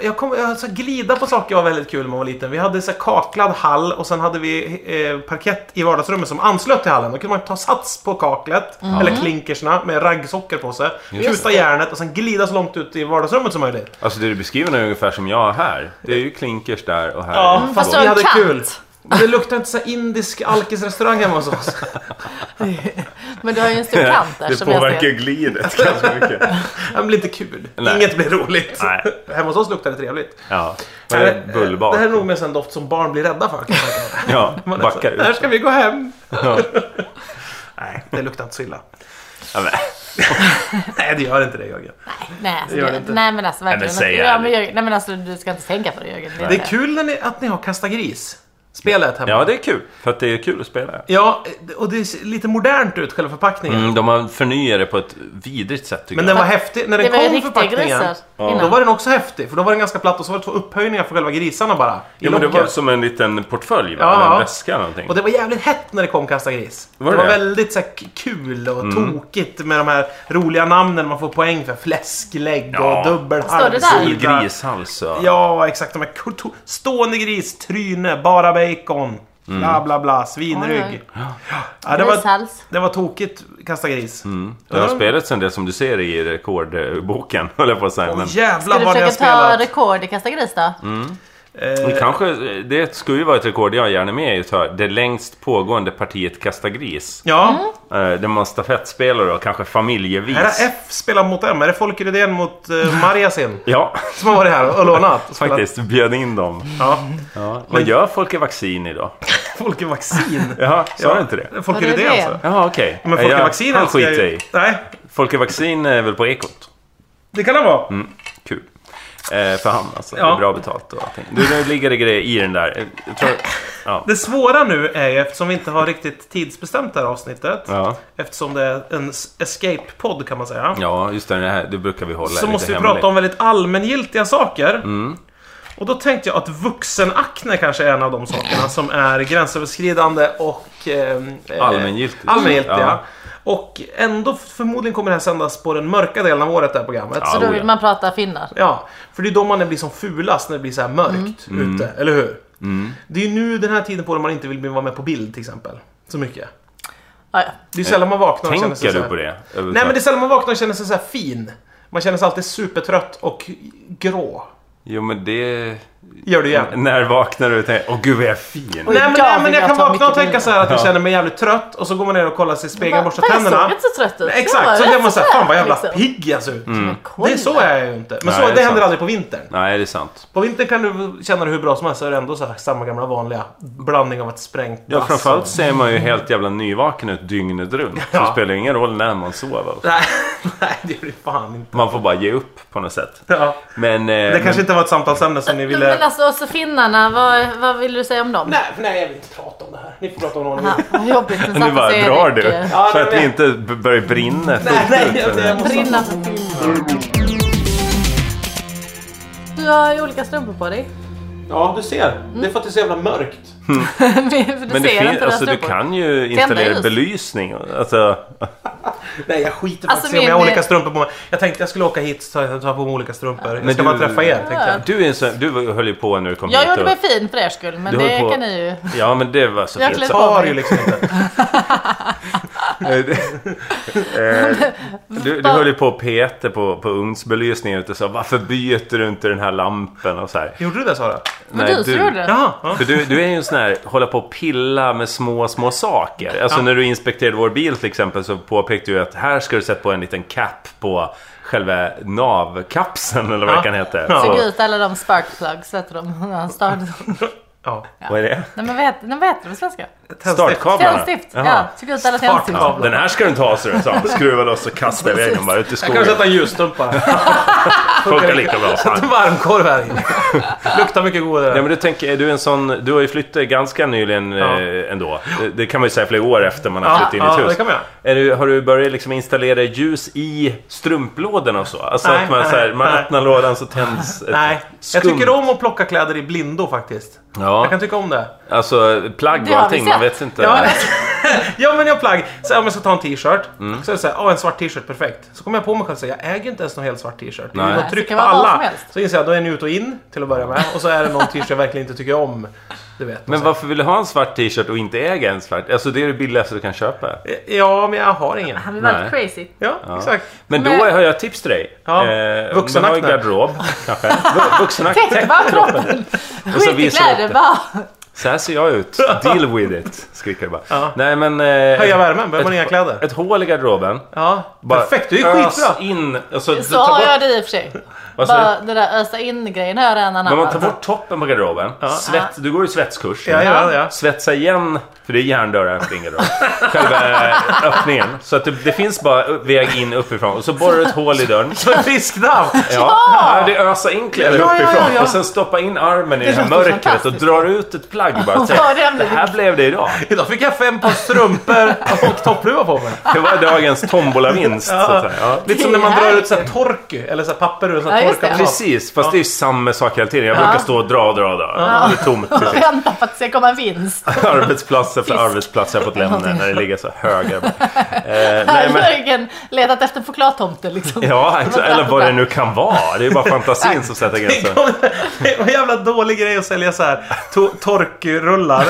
Speaker 1: Jag, kom, jag så glida på saker var väldigt kul när man var liten. Vi hade så här kaklad hall och sen hade vi eh, parkett i vardagsrummet som anslöt till hallen. Då kunde man ta sats på kaklet,
Speaker 2: Mm.
Speaker 1: eller klinkersna, med raggsockor på sig. Kuta järnet och sen glida så långt ut i vardagsrummet som möjligt.
Speaker 2: Alltså det du beskriver nu är ungefär som jag har här. Det är ju klinkers där och här. är
Speaker 1: Ja,
Speaker 2: det
Speaker 1: fast
Speaker 2: golv.
Speaker 1: vi hade kul. Men Det luktar inte så här indisk alkisrestaurang hemma hos oss.
Speaker 3: Men du har ju en stor kant där
Speaker 2: Det
Speaker 3: som jag
Speaker 2: påverkar
Speaker 3: ser.
Speaker 2: glidet ganska mycket.
Speaker 1: Det blir inte kul.
Speaker 2: Nej.
Speaker 1: Inget blir roligt.
Speaker 2: Nej.
Speaker 1: Hemma hos oss luktar det trevligt.
Speaker 2: Ja, vad är det?
Speaker 1: här-
Speaker 2: Bullbak?
Speaker 1: Det här är nog mest en doft som barn blir rädda för. kan jag tänka mig.
Speaker 2: Ja,
Speaker 1: Man är så,
Speaker 2: backar
Speaker 1: Här
Speaker 2: ut.
Speaker 1: ska vi gå hem.
Speaker 2: Ja.
Speaker 1: Nej, det luktar inte så illa.
Speaker 2: Ja, men-
Speaker 1: Nej, det gör inte det Jörgen.
Speaker 3: Nej, alltså,
Speaker 1: Det gör
Speaker 3: det-
Speaker 1: det inte.
Speaker 3: nej men alltså verkligen.
Speaker 2: säg
Speaker 3: ja, men,
Speaker 2: ärligt.
Speaker 3: Jörgen, nej men alltså du ska inte tänka på det Jörgen.
Speaker 1: Det är kul när ni, att ni har Kasta Gris. Spelet hemma.
Speaker 2: Ja, det är kul. För att det är kul att spela.
Speaker 1: Ja, eh, och det ser lite modernt ut, själva förpackningen.
Speaker 2: Mm, de har förnyat det på ett vidrigt sätt tycker
Speaker 1: Men den var häftig. När
Speaker 3: Det
Speaker 1: den
Speaker 3: var ju
Speaker 1: kom
Speaker 3: riktiga
Speaker 1: förpackningen,
Speaker 3: grisar
Speaker 1: då
Speaker 3: innan.
Speaker 1: var den också häftig. För då var den ganska platt och så var det två upphöjningar för själva grisarna bara. I
Speaker 2: jag. Ja, men det var
Speaker 1: locket.
Speaker 2: som en liten portfölj, va?
Speaker 1: Ja,
Speaker 2: Eller
Speaker 1: ja.
Speaker 2: en väska eller någonting.
Speaker 1: Och det var jävligt hett när det kom Kasta Gris.
Speaker 2: Var
Speaker 1: det
Speaker 2: det
Speaker 1: var
Speaker 2: det? Mm.
Speaker 1: väldigt så här, k- kul och tokigt med de här roliga namnen man får poäng för. Fläsklägg
Speaker 2: Ja.
Speaker 1: och dubbelhalssida.
Speaker 3: Står det där?
Speaker 2: I grishals och...
Speaker 1: Ja, exakt. De här kultur- stående gris, tryne, bara bacon.
Speaker 2: Mm.
Speaker 1: Bla, bla, bla. Svinrygg.
Speaker 3: Oj,
Speaker 1: Ja, det, var,
Speaker 3: Grishals.
Speaker 1: det var tokigt, Kasta Gris. Mm.
Speaker 2: Det har spelats en del som du ser i rekordboken, höll jag på att säga. Men
Speaker 3: Ska
Speaker 1: Jävlar
Speaker 3: du
Speaker 1: vad ni har
Speaker 3: försöka ta
Speaker 1: spelat. Mm.
Speaker 3: rekord i kasta gris då?
Speaker 2: det kanske, det skulle ju vara ett rekord jag gärna är med i, tror jag. det längst pågående partiet kasta gris.
Speaker 1: Ja.
Speaker 3: Mm.
Speaker 2: Eh, Där man stafettspelare och kanske familjevis.
Speaker 1: Är det F spelar mot M? Är det Folke Rydén mot uh, Marjasin?
Speaker 2: Ja,
Speaker 1: Som har varit här och lånat? och spelat?
Speaker 2: faktiskt. Bjöd in dem.
Speaker 1: Ja.
Speaker 2: Ja. Vad gör folk i vaccin idag?
Speaker 1: Folke Vaccin.
Speaker 2: Jaha, sa du inte det?
Speaker 1: Folke
Speaker 3: Var det
Speaker 1: Rydén
Speaker 3: det?
Speaker 1: alltså.
Speaker 2: Ja, okej.
Speaker 1: Men Folke
Speaker 2: Ja,
Speaker 1: Vaccin
Speaker 2: Han
Speaker 1: älskar jag
Speaker 2: skiter
Speaker 1: ju-
Speaker 2: jag i.
Speaker 1: Nej,
Speaker 2: Folke Vaccin är väl på Ekot.
Speaker 1: det kan det vara.
Speaker 2: Mm. Kul. Eh, för han alltså.
Speaker 1: Ja.
Speaker 2: Det är bra betalt och allting. Du, det ligger det grejer i den där. Eh, Jag tror... Ja.
Speaker 1: Det svåra nu är ju, eftersom vi inte har riktigt tidsbestämt det här avsnittet.
Speaker 2: Ja.
Speaker 1: Eftersom det är en s- escape-podd kan man säga.
Speaker 2: ja, just det. Det, här, det brukar vi hålla
Speaker 1: så
Speaker 2: lite
Speaker 1: måste vi
Speaker 2: hemligt. Mm.
Speaker 1: prata om väldigt allmängiltiga saker. Och då tänkte jag att vuxenakne kanske är en av de sakerna som är gränsöverskridande och eh, eh,
Speaker 2: Allmängiltigt.
Speaker 1: allmängiltiga.
Speaker 2: Ja.
Speaker 1: Och ändå förmodligen kommer det här sändas på den mörka delen av året det här programmet.
Speaker 2: Ja.
Speaker 1: Oh, Ja.
Speaker 3: Så då
Speaker 2: oja.
Speaker 3: vill man prata finnar.
Speaker 1: för det är då man blir som fulast när det blir så här mörkt
Speaker 2: Mm.
Speaker 1: ute, eller hur? Det är ju nu den här tiden på när man inte vill vara med på bild till exempel. Så mycket.
Speaker 3: Ja, ja.
Speaker 1: Det är ju sällan man vaknar och känner sig
Speaker 2: Eh, Tänker
Speaker 1: så
Speaker 2: du
Speaker 1: här-
Speaker 2: på det?
Speaker 1: Nej men det är sällan man vaknar och känner sig så här fin. Man känner sig alltid supertrött och grå.
Speaker 2: Jo, men det...
Speaker 1: Gör du igen.
Speaker 2: När vaknar du och tänker åh gud vad jag är fin.
Speaker 1: Nej men,
Speaker 3: Idag
Speaker 1: nej, men
Speaker 3: vill
Speaker 1: jag
Speaker 3: jag
Speaker 1: kan
Speaker 3: ta
Speaker 1: vakna och
Speaker 3: mycket
Speaker 1: tänka så här att jag känner mig jävligt trött och så går man ner och kollar sig i spegeln
Speaker 3: Bara,
Speaker 1: och borstar
Speaker 3: fan, Jag
Speaker 1: tänderna.
Speaker 3: såg inte så trött ut.
Speaker 1: Nej, Exakt, så
Speaker 3: Jag
Speaker 1: blir
Speaker 3: var
Speaker 1: man såhär, fan vad jävla
Speaker 3: liksom.
Speaker 1: pigg jag ser ut.
Speaker 3: Men kolla.
Speaker 1: Det är så är jag ju inte.
Speaker 2: Mm. Nej,
Speaker 1: Men så,
Speaker 2: det är
Speaker 1: det,
Speaker 2: sant.
Speaker 1: händer aldrig på vintern.
Speaker 2: Nej, det är sant.
Speaker 1: På vintern kan du känna dig hur bra som helst så är det ändå så här, samma gamla vanliga blandning av ett sprängt
Speaker 2: Ja,
Speaker 1: dass
Speaker 2: framförallt ser man ju helt jävla nyvaken ut dygnet runt. Så
Speaker 1: Ja.
Speaker 2: Det spelar ingen roll när man sover.
Speaker 1: och... Nej, nej, det gör det fan inte.
Speaker 2: Man får bara ge upp på något sätt.
Speaker 1: Ja.
Speaker 2: Men... Eh,
Speaker 1: Det kanske inte var ett samtalsämne som ni ville...
Speaker 3: Men alltså, och så finnarna, vad, vad vill du säga om dem?
Speaker 1: Nej, nej, jag vill inte prata om det här. Ni får prata om någon annan.
Speaker 3: Aha, vad jobbigt. Sen
Speaker 2: Nu
Speaker 3: satte
Speaker 2: bara
Speaker 3: sig
Speaker 2: drar
Speaker 3: Erik,
Speaker 2: du.
Speaker 3: eh,
Speaker 1: Ja,
Speaker 2: För
Speaker 1: nej,
Speaker 2: att
Speaker 1: men-
Speaker 2: vi inte b- börjar brinna
Speaker 1: Nej,
Speaker 2: fullt
Speaker 1: nej,
Speaker 2: ut för
Speaker 1: jag,
Speaker 2: det
Speaker 1: jag
Speaker 2: här.
Speaker 1: måste...
Speaker 3: Brinna för finnar. Du har ju olika strumpor på dig.
Speaker 1: Ja, du ser. Det är för att det är så jävla mörkt.
Speaker 3: Men du
Speaker 2: Men det
Speaker 3: ser
Speaker 2: fin-
Speaker 3: inte
Speaker 2: alltså,
Speaker 3: dina
Speaker 2: du
Speaker 3: strumpor.
Speaker 2: kan ju
Speaker 3: Tända
Speaker 2: installera
Speaker 3: ljus.
Speaker 2: belysning. Alltså,
Speaker 1: Nej, jag skiter faktiskt
Speaker 3: Alltså,
Speaker 1: i om jag har
Speaker 3: min-
Speaker 1: olika strumpor på mig. Jag tänkte jag skulle åka hit och ta, ta på mig olika strumpor. Jag
Speaker 2: Men
Speaker 1: ska
Speaker 2: du-
Speaker 1: bara träffa er, tänkte jag.
Speaker 2: du, är en sån, du höll ju på när du kom
Speaker 3: Jag
Speaker 2: hit.
Speaker 3: gjorde mig fin för er skull, men
Speaker 2: Du höll
Speaker 3: det
Speaker 2: på-
Speaker 3: kan ni ju...
Speaker 2: Ja, men det var så
Speaker 3: Jag
Speaker 2: fint.
Speaker 3: klädde
Speaker 2: så.
Speaker 1: Tar ju liksom inte.
Speaker 2: Du, du höll ju på och peta på, på ugnsbelysningen ute och sa varför byter du inte den här lampen och så här.
Speaker 1: Gjorde du det Sara?
Speaker 3: Men du som gjorde det.
Speaker 1: Jaha. Ja.
Speaker 2: För du, du är ju en sån här, hålla på och pilla med små, små saker. Alltså när du inspekterade vår bil till exempel så påpekade du att här ska du sätta på en liten cap på själva navkapseln eller vad
Speaker 1: Ja.
Speaker 2: det kan heta.
Speaker 1: Ja.
Speaker 2: Så-
Speaker 3: Såg ut alla de sparkplugs, vet du de? när han startade.
Speaker 1: ja.
Speaker 2: Vad är det?
Speaker 3: Nej men vad heter, nej, vad heter det på svenska?
Speaker 2: Startkablarna?
Speaker 3: Tändstift. Ja,
Speaker 2: Jaha.
Speaker 3: såg ut alla
Speaker 1: Sparkablar.
Speaker 3: tändstift.
Speaker 1: Ja.
Speaker 2: Den här ska du inte ha, så du sa. Skruva loss och kasta iväg den bara ut i
Speaker 1: Jag kan
Speaker 2: skogen.
Speaker 1: sätta en ljusstump bara.
Speaker 2: Funkar lika bra. fan.
Speaker 1: Sätt en varmkorv här inne. Luktar mycket godare.
Speaker 2: Nej, men du, tänker, du, är en sån, du har ju flyttat ganska nyligen
Speaker 1: Ja.
Speaker 2: eh, ändå. Det, det kan man ju säga flera år efter man har
Speaker 1: Ja,
Speaker 2: flyttat in i
Speaker 1: ja,
Speaker 2: ett hus.
Speaker 1: det kan man göra.
Speaker 2: är du, har du börjat liksom installera ljus i strumplådorna och så? Alltså
Speaker 1: Nej,
Speaker 2: att man, så här,
Speaker 1: nej,
Speaker 2: man
Speaker 1: nej.
Speaker 2: öppnar lådan så tänds ett
Speaker 1: Nej. Jag
Speaker 2: skumt-
Speaker 1: tycker om att plocka kläder i blindo faktiskt. Jag
Speaker 2: Ja,
Speaker 1: kan tycka om det.
Speaker 2: alltså plagg
Speaker 3: Det
Speaker 2: och
Speaker 3: har vi
Speaker 2: allting. Man
Speaker 3: sett.
Speaker 2: vet inte.
Speaker 1: Ja, ja men jag har plagg. Så om jag ska ta en t-shirt.
Speaker 2: Mm.
Speaker 1: Så är det såhär, ja en svart t-shirt, perfekt. Så kommer jag på mig själv och säger, jag äger inte ens någon helt svart t-shirt. Det
Speaker 2: Nej.
Speaker 1: är
Speaker 2: Nej,
Speaker 1: något
Speaker 2: det
Speaker 1: tryck på
Speaker 3: kan vara vad som
Speaker 1: alla.
Speaker 3: helst.
Speaker 1: Så inser jag, då är den ut och in till att börja med. Och så är det någon t-shirt jag verkligen inte tycker om. Du vet.
Speaker 2: Men varför vill du ha en svart t-shirt och inte äga en svart? Alltså det är det billigaste du kan köpa.
Speaker 1: Ja, men jag har ingen.
Speaker 3: Han blir väldigt
Speaker 2: Nej.
Speaker 3: crazy.
Speaker 1: Ja, exakt.
Speaker 2: Men då
Speaker 3: Men-
Speaker 2: har jag tips till dig.
Speaker 1: Ja,
Speaker 2: du har ju
Speaker 1: vuxenakne.
Speaker 2: garderob kanske. Vu- Vuxenakne.
Speaker 3: Tänk bara kroppen.
Speaker 2: Och så
Speaker 3: Skit i
Speaker 2: visar du Alltså, upp
Speaker 3: kläder
Speaker 2: det.
Speaker 3: bara.
Speaker 2: Så här ser jag ut. Deal with it. Skriker jag bara.
Speaker 1: Ja.
Speaker 2: Nej men... Eh,
Speaker 1: Höja värmen, behöver man
Speaker 2: ett-
Speaker 1: inga kläder.
Speaker 2: Ett hål i garderoben.
Speaker 1: Ja,
Speaker 2: Bara
Speaker 1: perfekt. Det är ju
Speaker 2: ös
Speaker 1: skitbra.
Speaker 2: in. Alltså,
Speaker 3: Så
Speaker 2: ta
Speaker 3: har
Speaker 2: bort-
Speaker 3: jag det i och för sig.
Speaker 2: Vad sa
Speaker 3: Bara det där ösa in-grejen har jag redan
Speaker 2: Men man
Speaker 3: anammat.
Speaker 2: tar bort toppen på garderoben. Svett, du går ju svetskurs. nu.
Speaker 1: Ja, ja, ja.
Speaker 2: Svetsa igen, för det är järndörrar på din garderob. Själva eh, öppningen. Så att det, det finns bara väg in uppifrån. Och så borrar du ett hål i dörren.
Speaker 1: Som en fiskdamm.
Speaker 2: Ja, ja, det ösar in kläder
Speaker 1: Ja, ja, ja,
Speaker 2: uppifrån.
Speaker 1: ja.
Speaker 2: Och sen stoppa in armen i det här
Speaker 3: känns
Speaker 2: mörkret och
Speaker 3: fantastiskt.
Speaker 2: drar ut ett plagg bara. Så,
Speaker 3: Ja, det är
Speaker 2: det här blev det idag.
Speaker 1: Idag fick jag fem par strumpor och toppluva på mig.
Speaker 2: Det var dagens tombolavinst. Så att säga. Ja.
Speaker 1: Lite som när man drar ut så här torky, eller så här papper ur en sån här
Speaker 3: Ja, just det.
Speaker 1: torkaplan.
Speaker 2: Precis, fast det är ju samma sak hela tiden. Jag brukar stå och dra, dra, dra. Det är tomt. till
Speaker 3: Och
Speaker 2: slut.
Speaker 3: vänta på att det ska komma en vinst.
Speaker 2: Arbetsplats efter
Speaker 3: Fisk.
Speaker 2: arbetsplats jag har fått lämna när det ligger så höga. Eh, nej,
Speaker 3: Här
Speaker 2: men,
Speaker 3: har Jörgen letat efter chokladtomte liksom.
Speaker 2: ja, exakt, eller vad det nu kan vara. Det är bara fantasin som sätter gränser.
Speaker 1: Tänk om det- Det var en jävla dålig grej att sälja så här to- torkrullar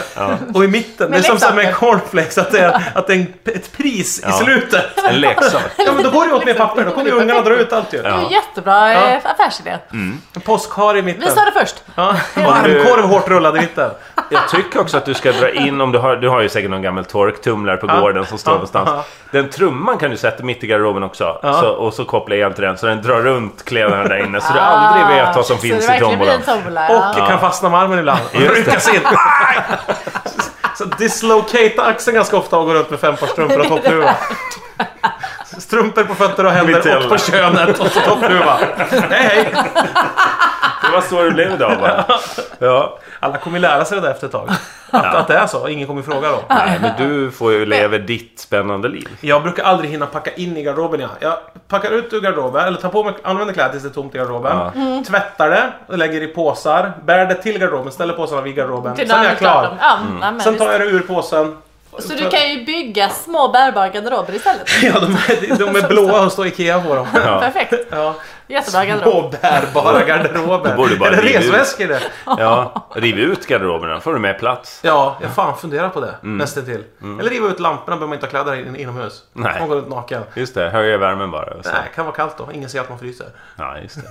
Speaker 1: och i mitten, det är som så här med en cornflakes att det är, att det är en, ett pris
Speaker 2: Ja.
Speaker 1: i slutet.
Speaker 2: En leksak.
Speaker 1: Ja men då går det ju åt mer papper, då kommer ju ungarna dra ut allt ju.
Speaker 3: Det är
Speaker 2: Ja.
Speaker 3: ju jättebra
Speaker 1: Ja.
Speaker 3: ja. affärsidé.
Speaker 1: En påskhare i mitten.
Speaker 3: Vi sa det först.
Speaker 1: Ja. Och armkorv hårt rullad i mitten.
Speaker 2: Jag tycker också att du ska dra in, om du har, du har ju säkert någon gammal torktumlare på
Speaker 1: Ja.
Speaker 2: gården som står
Speaker 1: Ja.
Speaker 2: någonstans.
Speaker 1: Ja.
Speaker 2: Den trumman kan du sätta mitt i garderoben också.
Speaker 1: Ja.
Speaker 2: Så, och så kopplar jag igen till den så den drar runt kläderna där inne så du aldrig vet vad som
Speaker 3: Ah,
Speaker 2: finns
Speaker 3: så det
Speaker 2: i
Speaker 3: verkligen blir
Speaker 2: tombolan.
Speaker 3: en tombola.
Speaker 1: Och
Speaker 3: ja.
Speaker 1: kan fastna med armen ibland. Och
Speaker 2: Just det.
Speaker 1: ryckas in. Aj! Så dislocata axeln ganska ofta och går runt med fem par strumpor och toppluva. Strumpor på fötter och händer
Speaker 2: Mitella.
Speaker 1: och på könet och så toppluva. Hej hej!
Speaker 2: Det var så det blev idag bara. Ja.
Speaker 1: Alla kommer lära sig det där efter ett tag. Att, att det är så. Ingen kommer fråga då.
Speaker 2: Nej, men du får ju leva ditt spännande liv.
Speaker 1: Jag brukar aldrig hinna packa in i garderoben. Jag, jag packar ut ur garderoben, eller tar på mig, använder kläder tills det är tomt i garderoben.
Speaker 2: Ja.
Speaker 1: Tvättar det, och lägger i påsar, bär det till garderoben, ställer påsarna vid garderoben.
Speaker 3: Till
Speaker 1: Sen är
Speaker 3: dagen
Speaker 1: jag
Speaker 3: dem.
Speaker 1: klar.
Speaker 3: Ja, ja, men
Speaker 1: Sen
Speaker 3: visst.
Speaker 1: tar jag det ur påsen.
Speaker 3: Så du kan ju bygga små bärbara garderober istället.
Speaker 1: Ja, de är, de är blåa och står IKEA på dem.
Speaker 2: Ja.
Speaker 3: Perfekt.
Speaker 1: Ja.
Speaker 3: Jättebra garderob.
Speaker 1: Och bärbara garderober.
Speaker 2: Då borde du bara
Speaker 1: Är det
Speaker 2: riva ut.
Speaker 1: resväskor det?
Speaker 2: Ja, riv ut garderoberna, får du mer plats.
Speaker 1: Ja, jag fan funderar på det. Nästintill. Eller riva ut lamporna, behöver man inte ha kläder in, inomhus.
Speaker 2: Nej.
Speaker 1: Man går ut naken.
Speaker 2: Just det, höja värmen bara. och Så.
Speaker 1: Nej, kan vara kallt då. Ingen ser att man fryser.
Speaker 2: Ja, just det.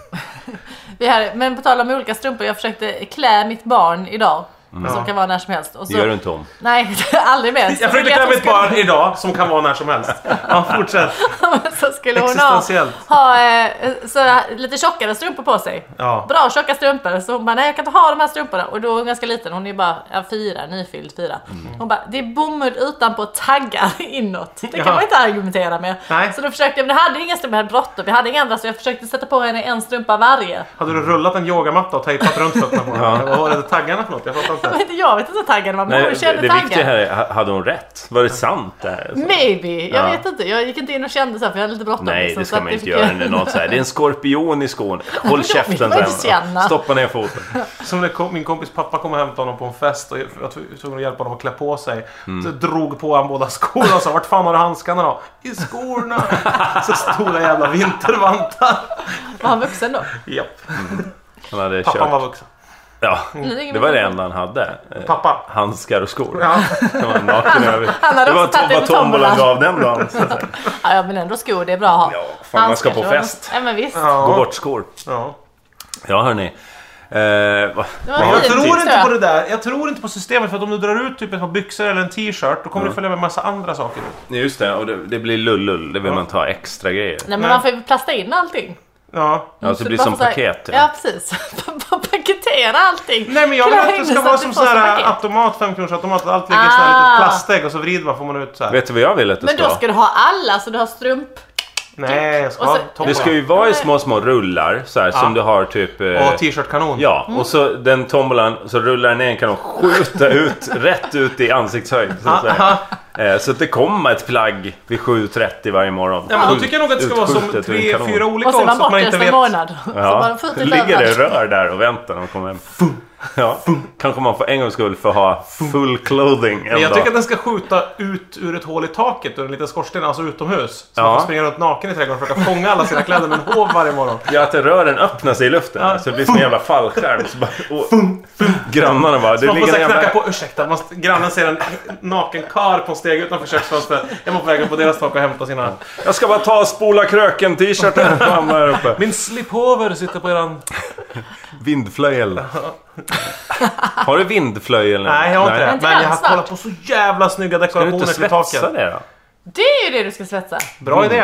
Speaker 3: Vi har, men på tal om olika strumpor, jag försökte klä mitt barn idag.
Speaker 1: Ja.
Speaker 3: Som kan vara när som helst. Och
Speaker 2: Det
Speaker 3: så,
Speaker 2: gör du inte om.
Speaker 3: Nej, aldrig mer. Så
Speaker 1: Jag försökte
Speaker 3: ville
Speaker 1: klä
Speaker 3: att hon
Speaker 1: mitt barn idag, som kan vara när som helst. Ja, fortsätt.
Speaker 3: skulle- så skulle hon ha,
Speaker 1: Existentiellt.
Speaker 3: ha eh, så, lite tjockare strumpor på sig.
Speaker 1: Ja.
Speaker 3: Bra tjocka strumpor. Så hon bara, nej jag kan inte ha de här strumporna. Och då är hon ganska liten, hon är bara ja, fyra, nyfylld fyra.
Speaker 2: Mm.
Speaker 3: Hon bara, det är bomull utanpå taggar inåt. Det kan
Speaker 1: Ja.
Speaker 3: man inte argumentera med.
Speaker 1: Nej.
Speaker 3: Så då försökte jag, men jag hade inga strumpor, jag hade bråttom, jag hade inga andra. Så jag försökte sätta på henne en strumpa varje.
Speaker 1: Hade du rullat en yogamatta och tejpat runt fötterna på den? Vad var det taggarna för något? Jag fattar
Speaker 3: Jag
Speaker 1: inte.
Speaker 3: vet inte, jag vet inte vad taggarna var, men
Speaker 2: Nej,
Speaker 3: hon
Speaker 2: det
Speaker 3: kände
Speaker 2: det viktiga
Speaker 3: taggar.
Speaker 2: här är, ha- hade hon rätt? Var det sant det här? Alltså,
Speaker 3: Maybe, jag
Speaker 2: Ja.
Speaker 3: vet inte. Jag gick inte in och kände så här, för jag hade lite bråttom.
Speaker 2: Nej,
Speaker 3: liksom,
Speaker 2: det
Speaker 3: så
Speaker 2: ska
Speaker 3: att
Speaker 2: man inte
Speaker 3: fick
Speaker 2: göra
Speaker 3: jag-
Speaker 2: när någon säger det är en skorpion i skon. Håll
Speaker 3: vill
Speaker 2: käften
Speaker 3: man inte
Speaker 2: sen.
Speaker 3: känna.
Speaker 2: Stoppa ner foten.
Speaker 1: Som när kom, min kompis pappa kom och hämtade honom på en fest och jag jag var tvungen att hjälpa honom att klä på sig.
Speaker 2: Mm.
Speaker 1: Så jag drog på honom båda skorna och sa vart fan har du handskarna då? I skorna! Så stora jävla vintervantar.
Speaker 3: Var han vuxen då?
Speaker 1: Japp.
Speaker 2: Han hade
Speaker 1: Pappan
Speaker 2: kört.
Speaker 1: var vuxen.
Speaker 2: Ja,
Speaker 3: Nu ringer
Speaker 2: det
Speaker 3: min
Speaker 2: var det
Speaker 3: kompis.
Speaker 2: enda han hade. Eh,
Speaker 1: Pappa.
Speaker 2: Handskar och skor.
Speaker 1: Ja.
Speaker 2: Han var naken över.
Speaker 3: Han hade
Speaker 2: Det var
Speaker 3: också tagit
Speaker 2: vad
Speaker 3: ut
Speaker 2: tombolan
Speaker 3: tombolan.
Speaker 2: gav den dagen. så att säga.
Speaker 3: Ja, ja, men ändå skor, det är bra att ha.
Speaker 2: Ja, fan, man ska på
Speaker 3: Handskar, så-
Speaker 2: fest.
Speaker 3: Ja, men visst.
Speaker 2: Gå
Speaker 1: Ja.
Speaker 2: bort skor.
Speaker 1: ja.
Speaker 2: Ja, hörni. Eh, va-
Speaker 3: Det var
Speaker 2: vad har
Speaker 1: Jag
Speaker 3: fint,
Speaker 2: du
Speaker 1: tror
Speaker 2: till?
Speaker 3: tror
Speaker 1: inte
Speaker 3: jag.
Speaker 1: på det där. Jag tror inte på systemet för att om du drar ut typ ett par byxor eller en t-shirt då
Speaker 2: Mm.
Speaker 1: kommer det följa med massa andra saker.
Speaker 2: Just det, och det, det blir lullull. Det vill man ta extra grejer.
Speaker 3: Nej, men man får ju plasta in allting.
Speaker 1: Ja.
Speaker 2: Ja, så det blir
Speaker 3: bara
Speaker 2: som
Speaker 3: får så här-
Speaker 2: paket.
Speaker 3: Ja, precis. Paketera allting.
Speaker 1: Nej men jag vill
Speaker 3: Klä
Speaker 1: att
Speaker 3: in
Speaker 1: det ska
Speaker 3: så
Speaker 1: vara
Speaker 3: det
Speaker 1: som
Speaker 3: får
Speaker 1: sån här
Speaker 3: paket.
Speaker 1: automat, femkronorsautomat. Allt ligger i sån här
Speaker 3: Ah.
Speaker 1: litet plastägg och så vrider man får man ut så här.
Speaker 2: Vet du vad jag vill att det
Speaker 3: Men
Speaker 2: ska
Speaker 3: då
Speaker 2: vara?
Speaker 3: ska du ha alla, så du har strump...
Speaker 1: Nej, jag ska
Speaker 3: Och
Speaker 1: ha
Speaker 3: så-
Speaker 1: toppen.
Speaker 2: Det ska ju vara i små, små rullar så här, som du har typ... eh,
Speaker 1: Och t-shirt-kanon.
Speaker 2: Ja,
Speaker 3: Mm.
Speaker 2: och så den tombolan, så rullar den ner kan de skjuta ut, rätt ut i ansiktshöjd. Så
Speaker 1: Ah,
Speaker 2: att, säga. Eh, så att det kommer ett plagg vid 7.30 varje morgon.
Speaker 1: Ja, men då
Speaker 2: Skjut-
Speaker 1: tycker jag nog att det ska vara som
Speaker 2: utskjutet ur en
Speaker 1: tre,
Speaker 2: kanon.
Speaker 1: fyra olika
Speaker 3: Och så är
Speaker 1: håll
Speaker 3: man
Speaker 1: så
Speaker 3: borta
Speaker 1: att man inte
Speaker 3: resten av
Speaker 1: vet.
Speaker 3: månaden. Så
Speaker 2: Ja,
Speaker 3: man får
Speaker 2: det
Speaker 3: skjutit
Speaker 2: ligger det i
Speaker 3: överallt.
Speaker 2: rör där och väntar när de kommer hem. Ja, kanske man för en gångs skull får ha full clothing en
Speaker 1: Men jag
Speaker 2: dag.
Speaker 1: tycker att den ska skjuta ut ur ett hål i taket ur en liten skorsten, alltså utomhus. Så
Speaker 2: Ja.
Speaker 1: man får springa runt naken i trädgården och försöka fånga alla sina kläder med en håv varje morgon.
Speaker 2: Ja, att rören öppnar sig i luften. Så det blir som en jävla fallskärm. Så bara, och, grannarna bara, det
Speaker 1: Man får
Speaker 2: ligger en
Speaker 1: säkert knacka
Speaker 2: jävla...
Speaker 1: på, ursäkta, man, grannen ser en naken kar på en steg utanför köksfönstret. Jag var på väg upp på deras tak och hämta sina...
Speaker 2: Jag ska bara ta och spola kröken t-shirten. Mamma här uppe.
Speaker 1: Min sliphover sitter på eran...
Speaker 2: Vindflöjel. Har du vindflöjel nu?
Speaker 1: Nej, jag har inte det.
Speaker 3: Inte
Speaker 1: Men jag
Speaker 3: än,
Speaker 1: har
Speaker 3: snart.
Speaker 1: kollat på så jävla snygga
Speaker 2: Ska du
Speaker 1: dekorationer
Speaker 2: inte
Speaker 1: till
Speaker 2: svetsa Mm.
Speaker 1: taket.
Speaker 2: det då?
Speaker 3: Det är ju det du ska svetsa.
Speaker 1: Bra idé.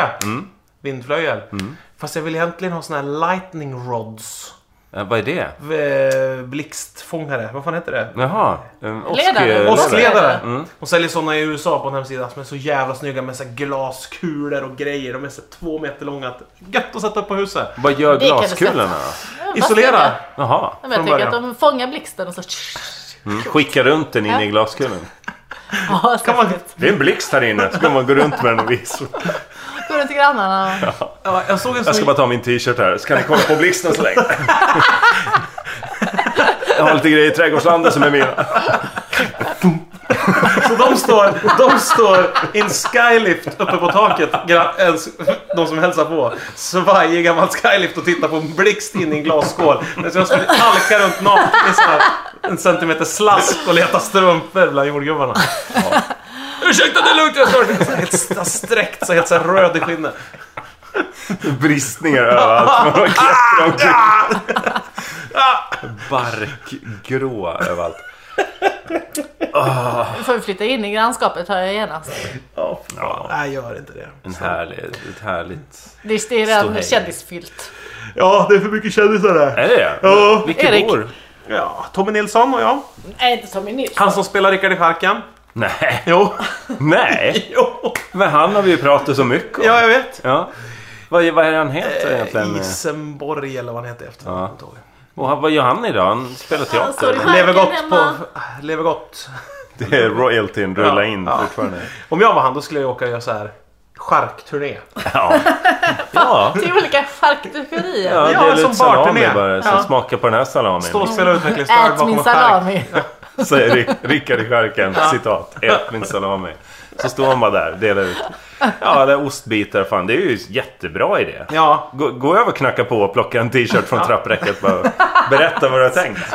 Speaker 1: Vindflöjel.
Speaker 2: Mm.
Speaker 1: Fast jag vill egentligen ha såna här lightning rods.
Speaker 2: Eh, vad är det?
Speaker 1: V- Blixtfångare. Vad fan heter det?
Speaker 2: Jaha, en
Speaker 3: Ledare.
Speaker 2: åskledare.
Speaker 3: Åskledare.
Speaker 1: Åskledare.
Speaker 2: Mm.
Speaker 1: De säljer såna i USA på en hemsida som är så jävla snygga med så här glaskulor och grejer. De är så här två meter långa. Gött att sätta upp på huset.
Speaker 2: Vad gör
Speaker 3: Det kan du
Speaker 2: glaskulorna då?
Speaker 3: Ja, vad ska
Speaker 1: Isolera!
Speaker 3: jag-
Speaker 2: Jaha,
Speaker 3: Ja, men jag
Speaker 1: från
Speaker 3: tycker att
Speaker 1: början.
Speaker 3: de fångar blixten och så...
Speaker 2: mm. skicka runt den in i glaskulan.
Speaker 3: Ja,
Speaker 1: Kan man,
Speaker 2: Det är en blixt här inne, så kan man gå runt med den och visa.
Speaker 3: Går runt till grannarna och...
Speaker 1: ja, jag såg en
Speaker 2: Jag ska
Speaker 1: snygg...
Speaker 2: bara ta min t-shirt här, så kan ni kolla på blixten så länge. Jag har lite grejer i trädgårdslandet som är mina.
Speaker 1: Så de står, de står in skylift uppe på taket. gra- ens- De som hälsar på. Svajig gammal skylift och tittar på en blixt in i en glasskål. Men så jag skulle halka runt naken i så här en centimeter slask och leta strumpor bland jordgubbarna. Ursäkta, det är lugnt. Jag står Så här helt st- sträckt, så helt så här röd i skinnet.
Speaker 2: Bristningar överallt. Man klättrar omkring. Barkgrå överallt.
Speaker 3: Nu får vi flytta in i grannskapet hör jag genast.
Speaker 1: Ja,
Speaker 2: Ja.
Speaker 1: Nej, gör inte det.
Speaker 2: En härlig, ett härligt...
Speaker 3: Det är- det är
Speaker 2: Stå
Speaker 3: redan
Speaker 2: hej.
Speaker 3: kändisfyllt.
Speaker 1: Ja, det är för mycket kändisar där.
Speaker 2: Är det det?
Speaker 1: Ja.
Speaker 2: Vilken
Speaker 3: Erik.
Speaker 2: år?
Speaker 1: Ja, Tommy Nilsson och jag.
Speaker 3: Nej, inte som i nytt.
Speaker 1: Han som spelar Rickard i Charken.
Speaker 2: Nej.
Speaker 1: Jo.
Speaker 2: Nej.
Speaker 1: jo.
Speaker 2: Men han har vi ju pratat så mycket om.
Speaker 1: Ja, jag vet.
Speaker 2: Ja. Vad, vad är det han heter egentligen?
Speaker 1: Eh, Isenborg eller vad han heter efter.
Speaker 2: Ja. Och han- vad gör han idag? Han spelar
Speaker 3: Han står i
Speaker 2: teater.
Speaker 3: skärken
Speaker 1: Lever gott på... äh,
Speaker 3: hemma.
Speaker 1: Lever gott.
Speaker 2: Det är royaltyn rulla
Speaker 1: Ja.
Speaker 2: in
Speaker 1: Ja.
Speaker 2: fortfarande.
Speaker 1: Om jag var han då skulle jag åka och göra så här charkturné.
Speaker 2: Ja. ja.
Speaker 3: Till olika charkuterier.
Speaker 2: Ja, det
Speaker 1: Ja,
Speaker 2: är lite
Speaker 1: som
Speaker 2: salami
Speaker 1: barturnén.
Speaker 2: bara. Så
Speaker 1: Ja.
Speaker 2: smaka på den här salamin.
Speaker 1: Stå och spela utvecklingsstörd
Speaker 3: Mm. Ät
Speaker 1: bakom
Speaker 3: min
Speaker 1: en chark.
Speaker 3: salami.
Speaker 2: Säger Rick- Rickard i skärken. Citat. Ät min salami. Så står han bara där. Delar ut. Ja, eller ostbitar. Fan, det är ju jättebra idé.
Speaker 1: Ja,
Speaker 2: Gå, gå över och knacka på och plocka en t-shirt från trappräcket. Bara, berätta vad du har tänkt.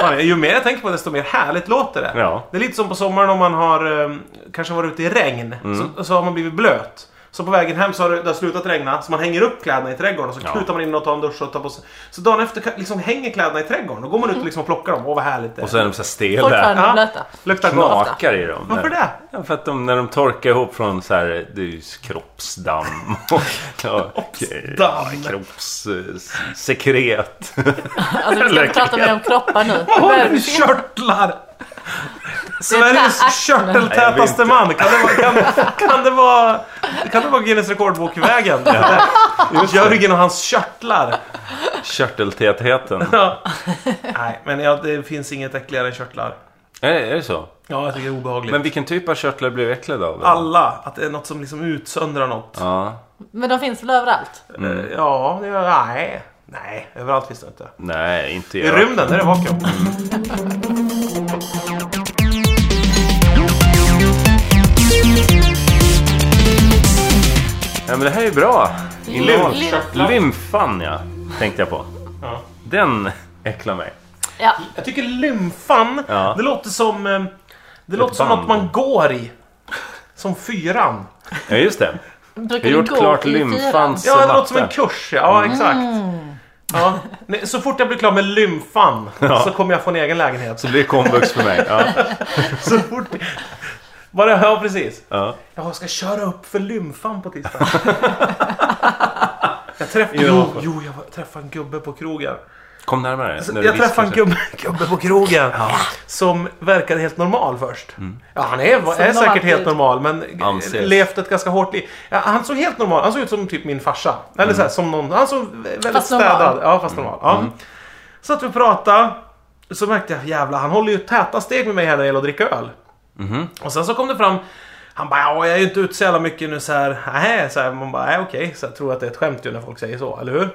Speaker 1: fan, ju mer jag tänker på det desto mer härligt låter det.
Speaker 2: Ja.
Speaker 1: Det är lite som på sommaren om man har eh, kanske varit ute i regn.
Speaker 2: Mm.
Speaker 1: Så, så har man blivit blöt. Så på vägen hem så har det, det har slutat regna så man hänger upp kläderna i trädgården och så
Speaker 2: Ja.
Speaker 1: kutar man in och tar en dusch och tar på sig. Så dagen efter ka- liksom hänger kläderna i trädgården. Då går
Speaker 3: Mm.
Speaker 1: man ut och liksom plockar dem. Åh vad härligt det
Speaker 2: Och så är de så här stela.
Speaker 3: Fortfarande
Speaker 1: Ja.
Speaker 3: blöta.
Speaker 1: Luktar gott.
Speaker 2: Knakar i dem.
Speaker 1: Varför det?
Speaker 2: Ja, för att de, när de torkar ihop från så här, det är ju kroppsdamm och ja,
Speaker 1: Kroppsdamm.
Speaker 2: kroppssekret.
Speaker 3: Alltså vi ska inte prata mer om kroppar nu.
Speaker 1: Vad
Speaker 3: Det
Speaker 1: håller
Speaker 3: börjar
Speaker 1: du
Speaker 3: bli
Speaker 1: i
Speaker 3: sent.
Speaker 1: körtlar?
Speaker 3: där
Speaker 1: Sveriges
Speaker 3: axeln.
Speaker 1: körteltätaste
Speaker 2: Nej,
Speaker 1: man. Kan det vara, kan, kan det vara, kan det vara Guinness rekordbok i vägen? Jörgen och hans körtlar.
Speaker 2: Körteltätheten.
Speaker 1: Ja. Nej, men ja, det finns inget äckligare än körtlar.
Speaker 2: Är, är det så?
Speaker 1: Ja, jag tycker det är obehagligt.
Speaker 2: Men vilken typ av körtlar blir du äcklad av? då?
Speaker 1: alla, att det är något som liksom utsöndrar något.
Speaker 2: Ja,
Speaker 3: Men de finns väl överallt?
Speaker 1: Eh, Ja, det gör- nej. Nej, överallt finns det inte.
Speaker 2: nej, inte
Speaker 1: I
Speaker 2: jag.
Speaker 1: rymden, där är det vakuum.
Speaker 2: Ja, men det här är ju bra. Innehåll.
Speaker 3: Lym- lymfan.
Speaker 2: Lymfan, ja. Tänkte jag på.
Speaker 1: Ja.
Speaker 2: Den äcklar mig.
Speaker 3: Ja.
Speaker 1: Jag tycker lymfan,
Speaker 2: Ja.
Speaker 1: det låter som... eh, Det låter som
Speaker 2: band.
Speaker 1: något man går i. Som fyran.
Speaker 2: Ja, just det.
Speaker 3: Brukar
Speaker 2: Vi har
Speaker 3: du
Speaker 2: gjort
Speaker 3: gå
Speaker 2: klart
Speaker 3: i fyran?
Speaker 2: lymfans
Speaker 1: Ja, det låter som en
Speaker 2: matte.
Speaker 1: kurs. Ja, ja exakt. Ja. Nej, Så fort jag blir klar med lymfan
Speaker 2: Ja.
Speaker 1: så kommer jag få en egen lägenhet.
Speaker 2: Så blir det komvux för mig. Ja,
Speaker 1: Så fort... Bara, ja, precis.
Speaker 2: ja.
Speaker 1: Ja, Jag ska köra upp för lymfan på tisdag. jag träffade...
Speaker 2: Ja.
Speaker 1: Jo, jo, jag var- träffade en gubbe på krogen.
Speaker 2: Kom närmare. när du
Speaker 1: Jag träffade
Speaker 2: viskar.
Speaker 1: en gubbe, gubbe på krogen som verkade helt normal först. Ja, han är, är
Speaker 3: normalt
Speaker 1: säkert helt
Speaker 3: ut.
Speaker 1: normal men
Speaker 2: Mm. Anses.
Speaker 1: levt ett ganska hårt liv. Ja, han såg helt normal Han såg ut som typ min farsa. Eller
Speaker 2: Mm.
Speaker 1: så här, som någon, han såg väldigt
Speaker 3: Fast normal.
Speaker 1: städad. Ja, fast normal. Ja. Så att vi pratade. Så märkte jag, jävlar, han håller ju täta steg med mig här när det gäller att dricka öl. Och sen så kom det fram han bara, ja jag är ju inte ute så jävla mycket nu så här. Nej, så här man bara, nej okej. Så jag tror att det är ett skämt ju när folk säger så, eller hur?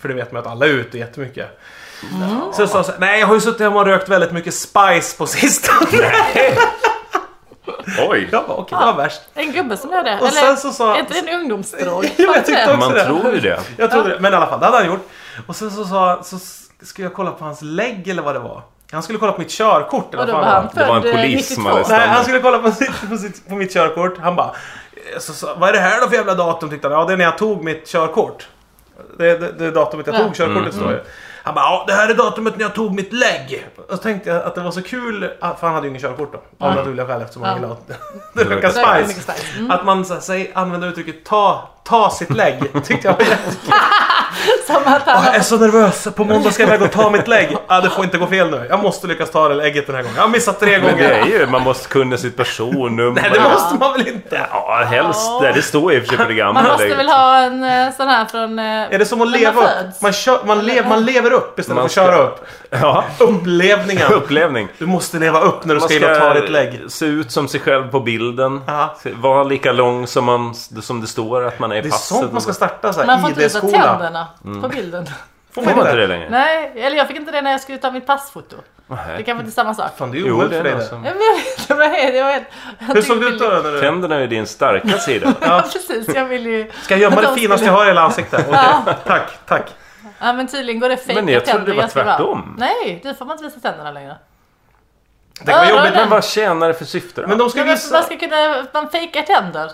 Speaker 1: För det vet man att alla är ute jättemycket.
Speaker 3: Mm.
Speaker 1: Så jag sa så här, nej jag har ju suttit hemma och rökt väldigt mycket spice på sistone.
Speaker 2: Oj!
Speaker 1: Jag bara, okej det var värst.
Speaker 3: En gubbe som gör det?
Speaker 1: Och sen
Speaker 3: Eller
Speaker 1: så sa-
Speaker 3: är inte det en ungdomsdrog?
Speaker 1: Ja, jag tyckte också
Speaker 2: Man
Speaker 1: det.
Speaker 2: tror ju det.
Speaker 1: Jag trodde det, men i alla fall det hade han gjort. Och sen så sa han, så skulle jag kolla på hans lägg eller vad det var. Han skulle kolla på mitt körkort eller
Speaker 3: Och då
Speaker 1: vad
Speaker 3: var
Speaker 1: fan det var.
Speaker 3: han
Speaker 2: Det var en
Speaker 3: född eh,
Speaker 2: polis som
Speaker 3: 92.
Speaker 2: hade
Speaker 1: Nej,
Speaker 2: Standard.
Speaker 1: han skulle kolla på, sitt, på, sitt, på mitt körkort. Han bara... eh, Så, så, vad är det här då för jävla datum? Tyckte han. Ja, det är när jag tog mitt körkort. Det, det, det är datumet jag
Speaker 3: Ja.
Speaker 2: Mm,
Speaker 1: tog körkortet står ju. Han bara, ja det här är datumet när jag tog mitt lägg. Och så tänkte jag att det var så kul, ah, för han hade ju ingen körkort då. Av naturliga skäl eftersom han
Speaker 3: Ja.
Speaker 1: gillade att det röka
Speaker 3: Röka
Speaker 1: spice.
Speaker 3: mycket spice. Mm.
Speaker 1: Att man så, här, säger, använder uttrycket ta, ta sitt lägg. Tyckte jag var jättekul.
Speaker 3: Som att
Speaker 1: Ah, Jag
Speaker 3: han...
Speaker 1: är så nervös, på måndag ska jag iväg och ta mitt lägg. Ah, det får inte gå fel nu. Jag måste lyckas ta det lägget den här gången. Jag har missat tre
Speaker 2: Men det är
Speaker 1: gånger.
Speaker 2: ju, man måste kunna sitt personnummer.
Speaker 1: Nej, det måste man väl inte?
Speaker 2: Ja, helst. Det det står i och för sig på det gamla.
Speaker 3: Man måste
Speaker 2: läget.
Speaker 3: väl ha en eh, sån här från...
Speaker 1: Är det som att leva upp? Man, kör, man, lev, man lever upp istället
Speaker 2: Man
Speaker 1: för att köra upp.
Speaker 2: Ja,
Speaker 1: Upplevningen.
Speaker 2: upplevning.
Speaker 1: Du måste leva upp när du
Speaker 2: Man
Speaker 1: ska in och ta ditt lägg.
Speaker 2: se ut som sig själv på bilden.
Speaker 1: Ja.
Speaker 2: Se- Vara lika lång som, man, som det står att man är i
Speaker 1: Det är
Speaker 2: passet.
Speaker 1: sånt man ska starta så
Speaker 3: Man
Speaker 1: här
Speaker 3: får inte visa
Speaker 1: ID-skola.
Speaker 3: tänderna på bilden.
Speaker 1: Får
Speaker 2: Får man inte det längre?
Speaker 3: Nej, eller jag fick inte det när jag skulle ta mitt passfoto.
Speaker 2: Nej.
Speaker 3: Det kanske inte är samma sak.
Speaker 1: Fan, det är ju
Speaker 2: Jo,
Speaker 1: OL
Speaker 2: det alltså. är
Speaker 1: för dig
Speaker 2: någon
Speaker 1: det.
Speaker 2: som...
Speaker 3: Ja, men Jag vet inte vad det är. Det var helt... jag
Speaker 1: Hur
Speaker 3: tycker
Speaker 1: såg du
Speaker 3: det
Speaker 1: ut
Speaker 3: är-
Speaker 1: då? När du...
Speaker 2: Tänderna är din starka sida.
Speaker 3: Ja, precis. Jag vill ju...
Speaker 1: Ska jag gömma
Speaker 3: att
Speaker 1: det
Speaker 3: de
Speaker 1: finaste
Speaker 3: skulle-
Speaker 1: jag har i hela ansiktet? Okej, Tack, tack.
Speaker 3: Ja, men tydligen går det fejka
Speaker 2: Men jag trodde det var
Speaker 3: ganska bra.
Speaker 2: tvärtom.
Speaker 3: Nej, du får man inte visa tänderna längre.
Speaker 1: Det var
Speaker 3: Öronen.
Speaker 1: jobbigt.
Speaker 2: Men vad tjänar det för syfte då?
Speaker 1: Men de ska
Speaker 3: Men varför man
Speaker 1: visa...
Speaker 3: ska kunna... Man fejkar tänder.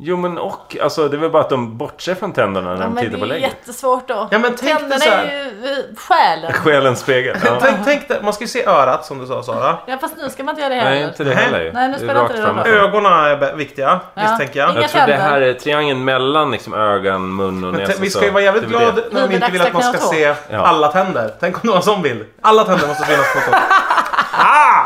Speaker 2: Jo men och, alltså det är väl bara att de bortser från tänderna när
Speaker 3: Ja,
Speaker 2: de
Speaker 3: men
Speaker 2: tittar
Speaker 3: det
Speaker 2: på
Speaker 3: är ju
Speaker 2: lägget.
Speaker 3: jättesvårt då.
Speaker 1: Ja, men tänk dig
Speaker 3: tänderna
Speaker 1: så här.
Speaker 3: är ju eh, själen.
Speaker 2: Själens spegel. Ja.
Speaker 1: Tänk, tänk dig, man ska ju se örat som du sa Sara.
Speaker 3: Ja, fast nu ska man inte göra det
Speaker 2: Nej,
Speaker 3: heller.
Speaker 2: inte det heller ju.
Speaker 3: Nej, nu
Speaker 2: Det är
Speaker 3: spelar inte
Speaker 2: rakt
Speaker 3: det någon
Speaker 2: fram.
Speaker 3: roll.
Speaker 1: Ögonen är be- viktiga, misstänker jag.
Speaker 3: Inga
Speaker 2: Jag tror det
Speaker 3: tänder.
Speaker 2: här är triangeln mellan liksom ögon, mun och
Speaker 1: Men
Speaker 2: näsa.
Speaker 1: te- vi
Speaker 2: alltså så
Speaker 1: ska ju vara jävligt
Speaker 2: det är väl
Speaker 1: glada
Speaker 2: det.
Speaker 1: när de inte vill att man ska se
Speaker 2: Ja.
Speaker 1: alla tänder. Tänk om det var en sån bild. Alla tänder måste synas på fotot.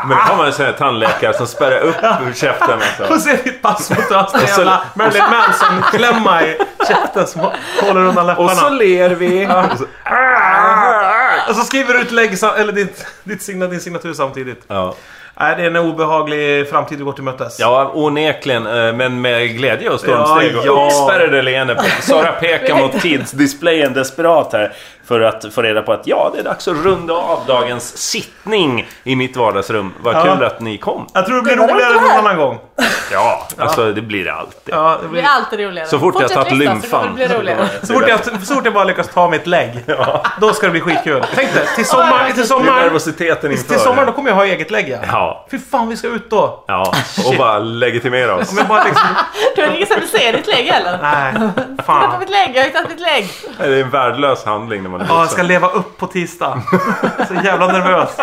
Speaker 2: Men då har man en sån här tandläkare som spärrar upp ur käften.
Speaker 1: Och
Speaker 2: Alltså.
Speaker 1: se ditt passfoto och så
Speaker 2: Och så-
Speaker 1: jävla Marilyn Manson-klämma i käften som håller undan läpparna.
Speaker 2: Och så ler vi. Och så-
Speaker 1: Och så skriver du ut lägg, sam- eller ditt, ditt signa, din signatur samtidigt.
Speaker 2: Ja.
Speaker 1: Nej, det är en obehaglig framtid vi går till mötes.
Speaker 2: Ja, onekligen. eh, Men med glädje och stormsteg och
Speaker 1: Ja, ja.
Speaker 2: uppspärrade leende. på-
Speaker 4: Sara pekar mot tidsdisplayen desperat här för att få reda på att ja, det är dags
Speaker 2: Så runda av dagens sittning i mitt vardagsrum. Vad
Speaker 1: Ja.
Speaker 2: kul att ni kom.
Speaker 1: Jag tror det blir
Speaker 3: Det var
Speaker 1: roligare
Speaker 3: det
Speaker 1: någon
Speaker 3: här.
Speaker 1: annan gång.
Speaker 2: Ja, alltså det blir det alltid.
Speaker 1: Ja, det
Speaker 3: Det blir
Speaker 1: blir...
Speaker 3: alltid roligare.
Speaker 2: Så fort jag
Speaker 3: Fortsätt
Speaker 2: tagit
Speaker 3: lyssna, Så
Speaker 2: lymfan.
Speaker 3: kommer det bli roligare.
Speaker 1: Så fort, jag, så fort jag bara lyckas ta mitt lägg, då ska det bli skitkul. Tänk dig, till sommar, till
Speaker 2: Det är
Speaker 1: sommar,
Speaker 2: nervositeten inför.
Speaker 1: till sommar då kommer jag ha eget lägg ja.
Speaker 2: Ja.
Speaker 1: Fy fan, vi ska ut då.
Speaker 2: Ja,
Speaker 3: Ah,
Speaker 2: och bara legitimera oss.
Speaker 1: Om jag bara liksom...
Speaker 3: Du har ingen som vill se ditt lägg heller.
Speaker 1: Nej,
Speaker 3: Jag har
Speaker 1: fan.
Speaker 3: mitt lägg, jag har hittat mitt lägg.
Speaker 2: Det är en värdelös handling när man är
Speaker 1: Ja, jag ska
Speaker 2: vuxen.
Speaker 1: leva upp på tisdag. Så jävla nervös.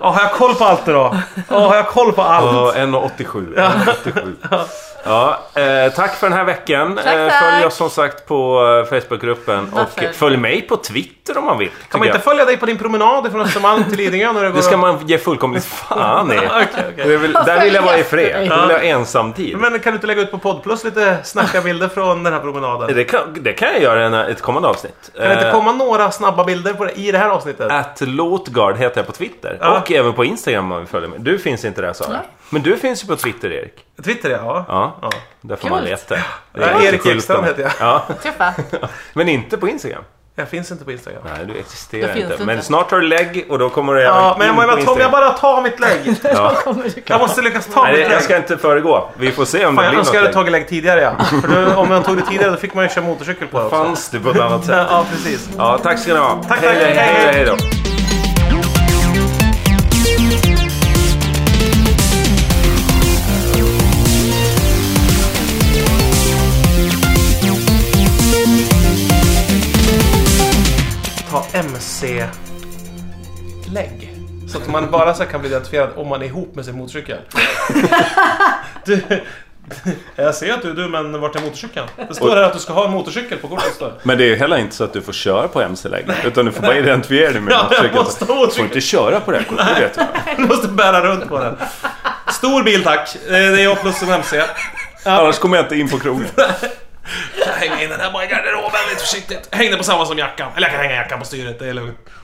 Speaker 1: Ja, har jag koll på allt idag? Ja, har jag koll på allt?
Speaker 2: Ja, 1,87. 1,87. Ja, eh, tack för den här veckan.
Speaker 3: Tack,
Speaker 2: Eh, Följ
Speaker 3: tack.
Speaker 2: oss som sagt på eh, Facebookgruppen
Speaker 3: Varför?
Speaker 2: och följ mig på Twitter om man vill.
Speaker 1: Kan man
Speaker 2: tycker
Speaker 1: inte
Speaker 2: jag.
Speaker 1: följa dig på din promenad från Östermalm till Lidingö när du går
Speaker 2: Det ska man ge fullkomligt fan i.
Speaker 1: Okej, okej.
Speaker 2: Det vill, där vill jag vara i fred.
Speaker 3: Ja.
Speaker 2: Där vill jag ha ensamtid.
Speaker 1: Men kan du inte lägga ut på poddplus lite snackarbilder från den här promenaden?
Speaker 2: Det kan, det kan jag göra i en- ett kommande avsnitt. Eh,
Speaker 1: Kan det inte komma några snabba bilder på det, i det här avsnittet?
Speaker 2: At Lotgard heter jag på Twitter.
Speaker 1: Ja.
Speaker 2: Och även på Instagram om man vill följa mig. Du finns inte där Sara.
Speaker 3: Nej.
Speaker 2: Men du finns ju på Twitter Erik.
Speaker 1: Twitter ja.
Speaker 2: Ja,
Speaker 1: Ja.
Speaker 2: där får man
Speaker 3: Coolt.
Speaker 2: leta. Det
Speaker 1: Ja,
Speaker 2: lite
Speaker 1: Erik
Speaker 2: skylten.
Speaker 1: Ekström heter jag.
Speaker 2: Ja.
Speaker 3: Tuffa.
Speaker 2: Men inte på Instagram.
Speaker 1: Jag finns inte på Instagram.
Speaker 2: Nej, du existerar
Speaker 3: Det finns
Speaker 2: inte.
Speaker 3: inte.
Speaker 2: Men snart har du lägg och då kommer du
Speaker 1: Ja,
Speaker 2: även
Speaker 1: men
Speaker 2: in
Speaker 1: jag, menar,
Speaker 2: på
Speaker 1: om jag
Speaker 2: Instagram.
Speaker 1: bara tar mitt lägg.
Speaker 3: Då kommer du
Speaker 1: Jag måste lyckas ta
Speaker 2: Nej,
Speaker 1: mitt
Speaker 2: jag
Speaker 1: lägg.
Speaker 2: ska inte föregå. Vi får se om
Speaker 1: Fan,
Speaker 2: det
Speaker 1: jag
Speaker 2: blir något
Speaker 1: önskar jag hade
Speaker 2: lägg.
Speaker 1: tagit lägg tidigare ja. För då, om jag tog det tidigare då fick man ju köra motorcykel på det också.
Speaker 2: Fanns det på ett annat sätt.
Speaker 1: Ja, precis.
Speaker 2: Ja, tack ska ni ha.
Speaker 1: Tack,
Speaker 2: hej,
Speaker 1: tack.
Speaker 2: hej, hej, hej, hej då.
Speaker 1: ta MC-lägg. Så att man bara så här kan bli identifierad om man är ihop med sin motorcykel. du, du- jag ser att du är du, men vart är motorcykeln? Det står här att du ska ha en motorcykel på kortet. står det.
Speaker 4: Men det är ju heller inte så att du får köra på MC-läge. Utan du får bara identifiera dig med
Speaker 1: Ja, jag
Speaker 4: motorcykeln.
Speaker 1: måste
Speaker 4: Du
Speaker 1: ha
Speaker 4: får
Speaker 1: motorcykel.
Speaker 4: inte köra på det här kortet, det vet jag.
Speaker 1: Du måste bära runt på den. Stor bil tack. Eh, Det är jag plus en MC.
Speaker 4: Annars kommer jag inte in på krogen.
Speaker 1: Jag hänger in den här bara i garderoben lite försiktigt. Hängde på samma som jackan. Eller jag kan hänga jackan på styret, det är lugnt.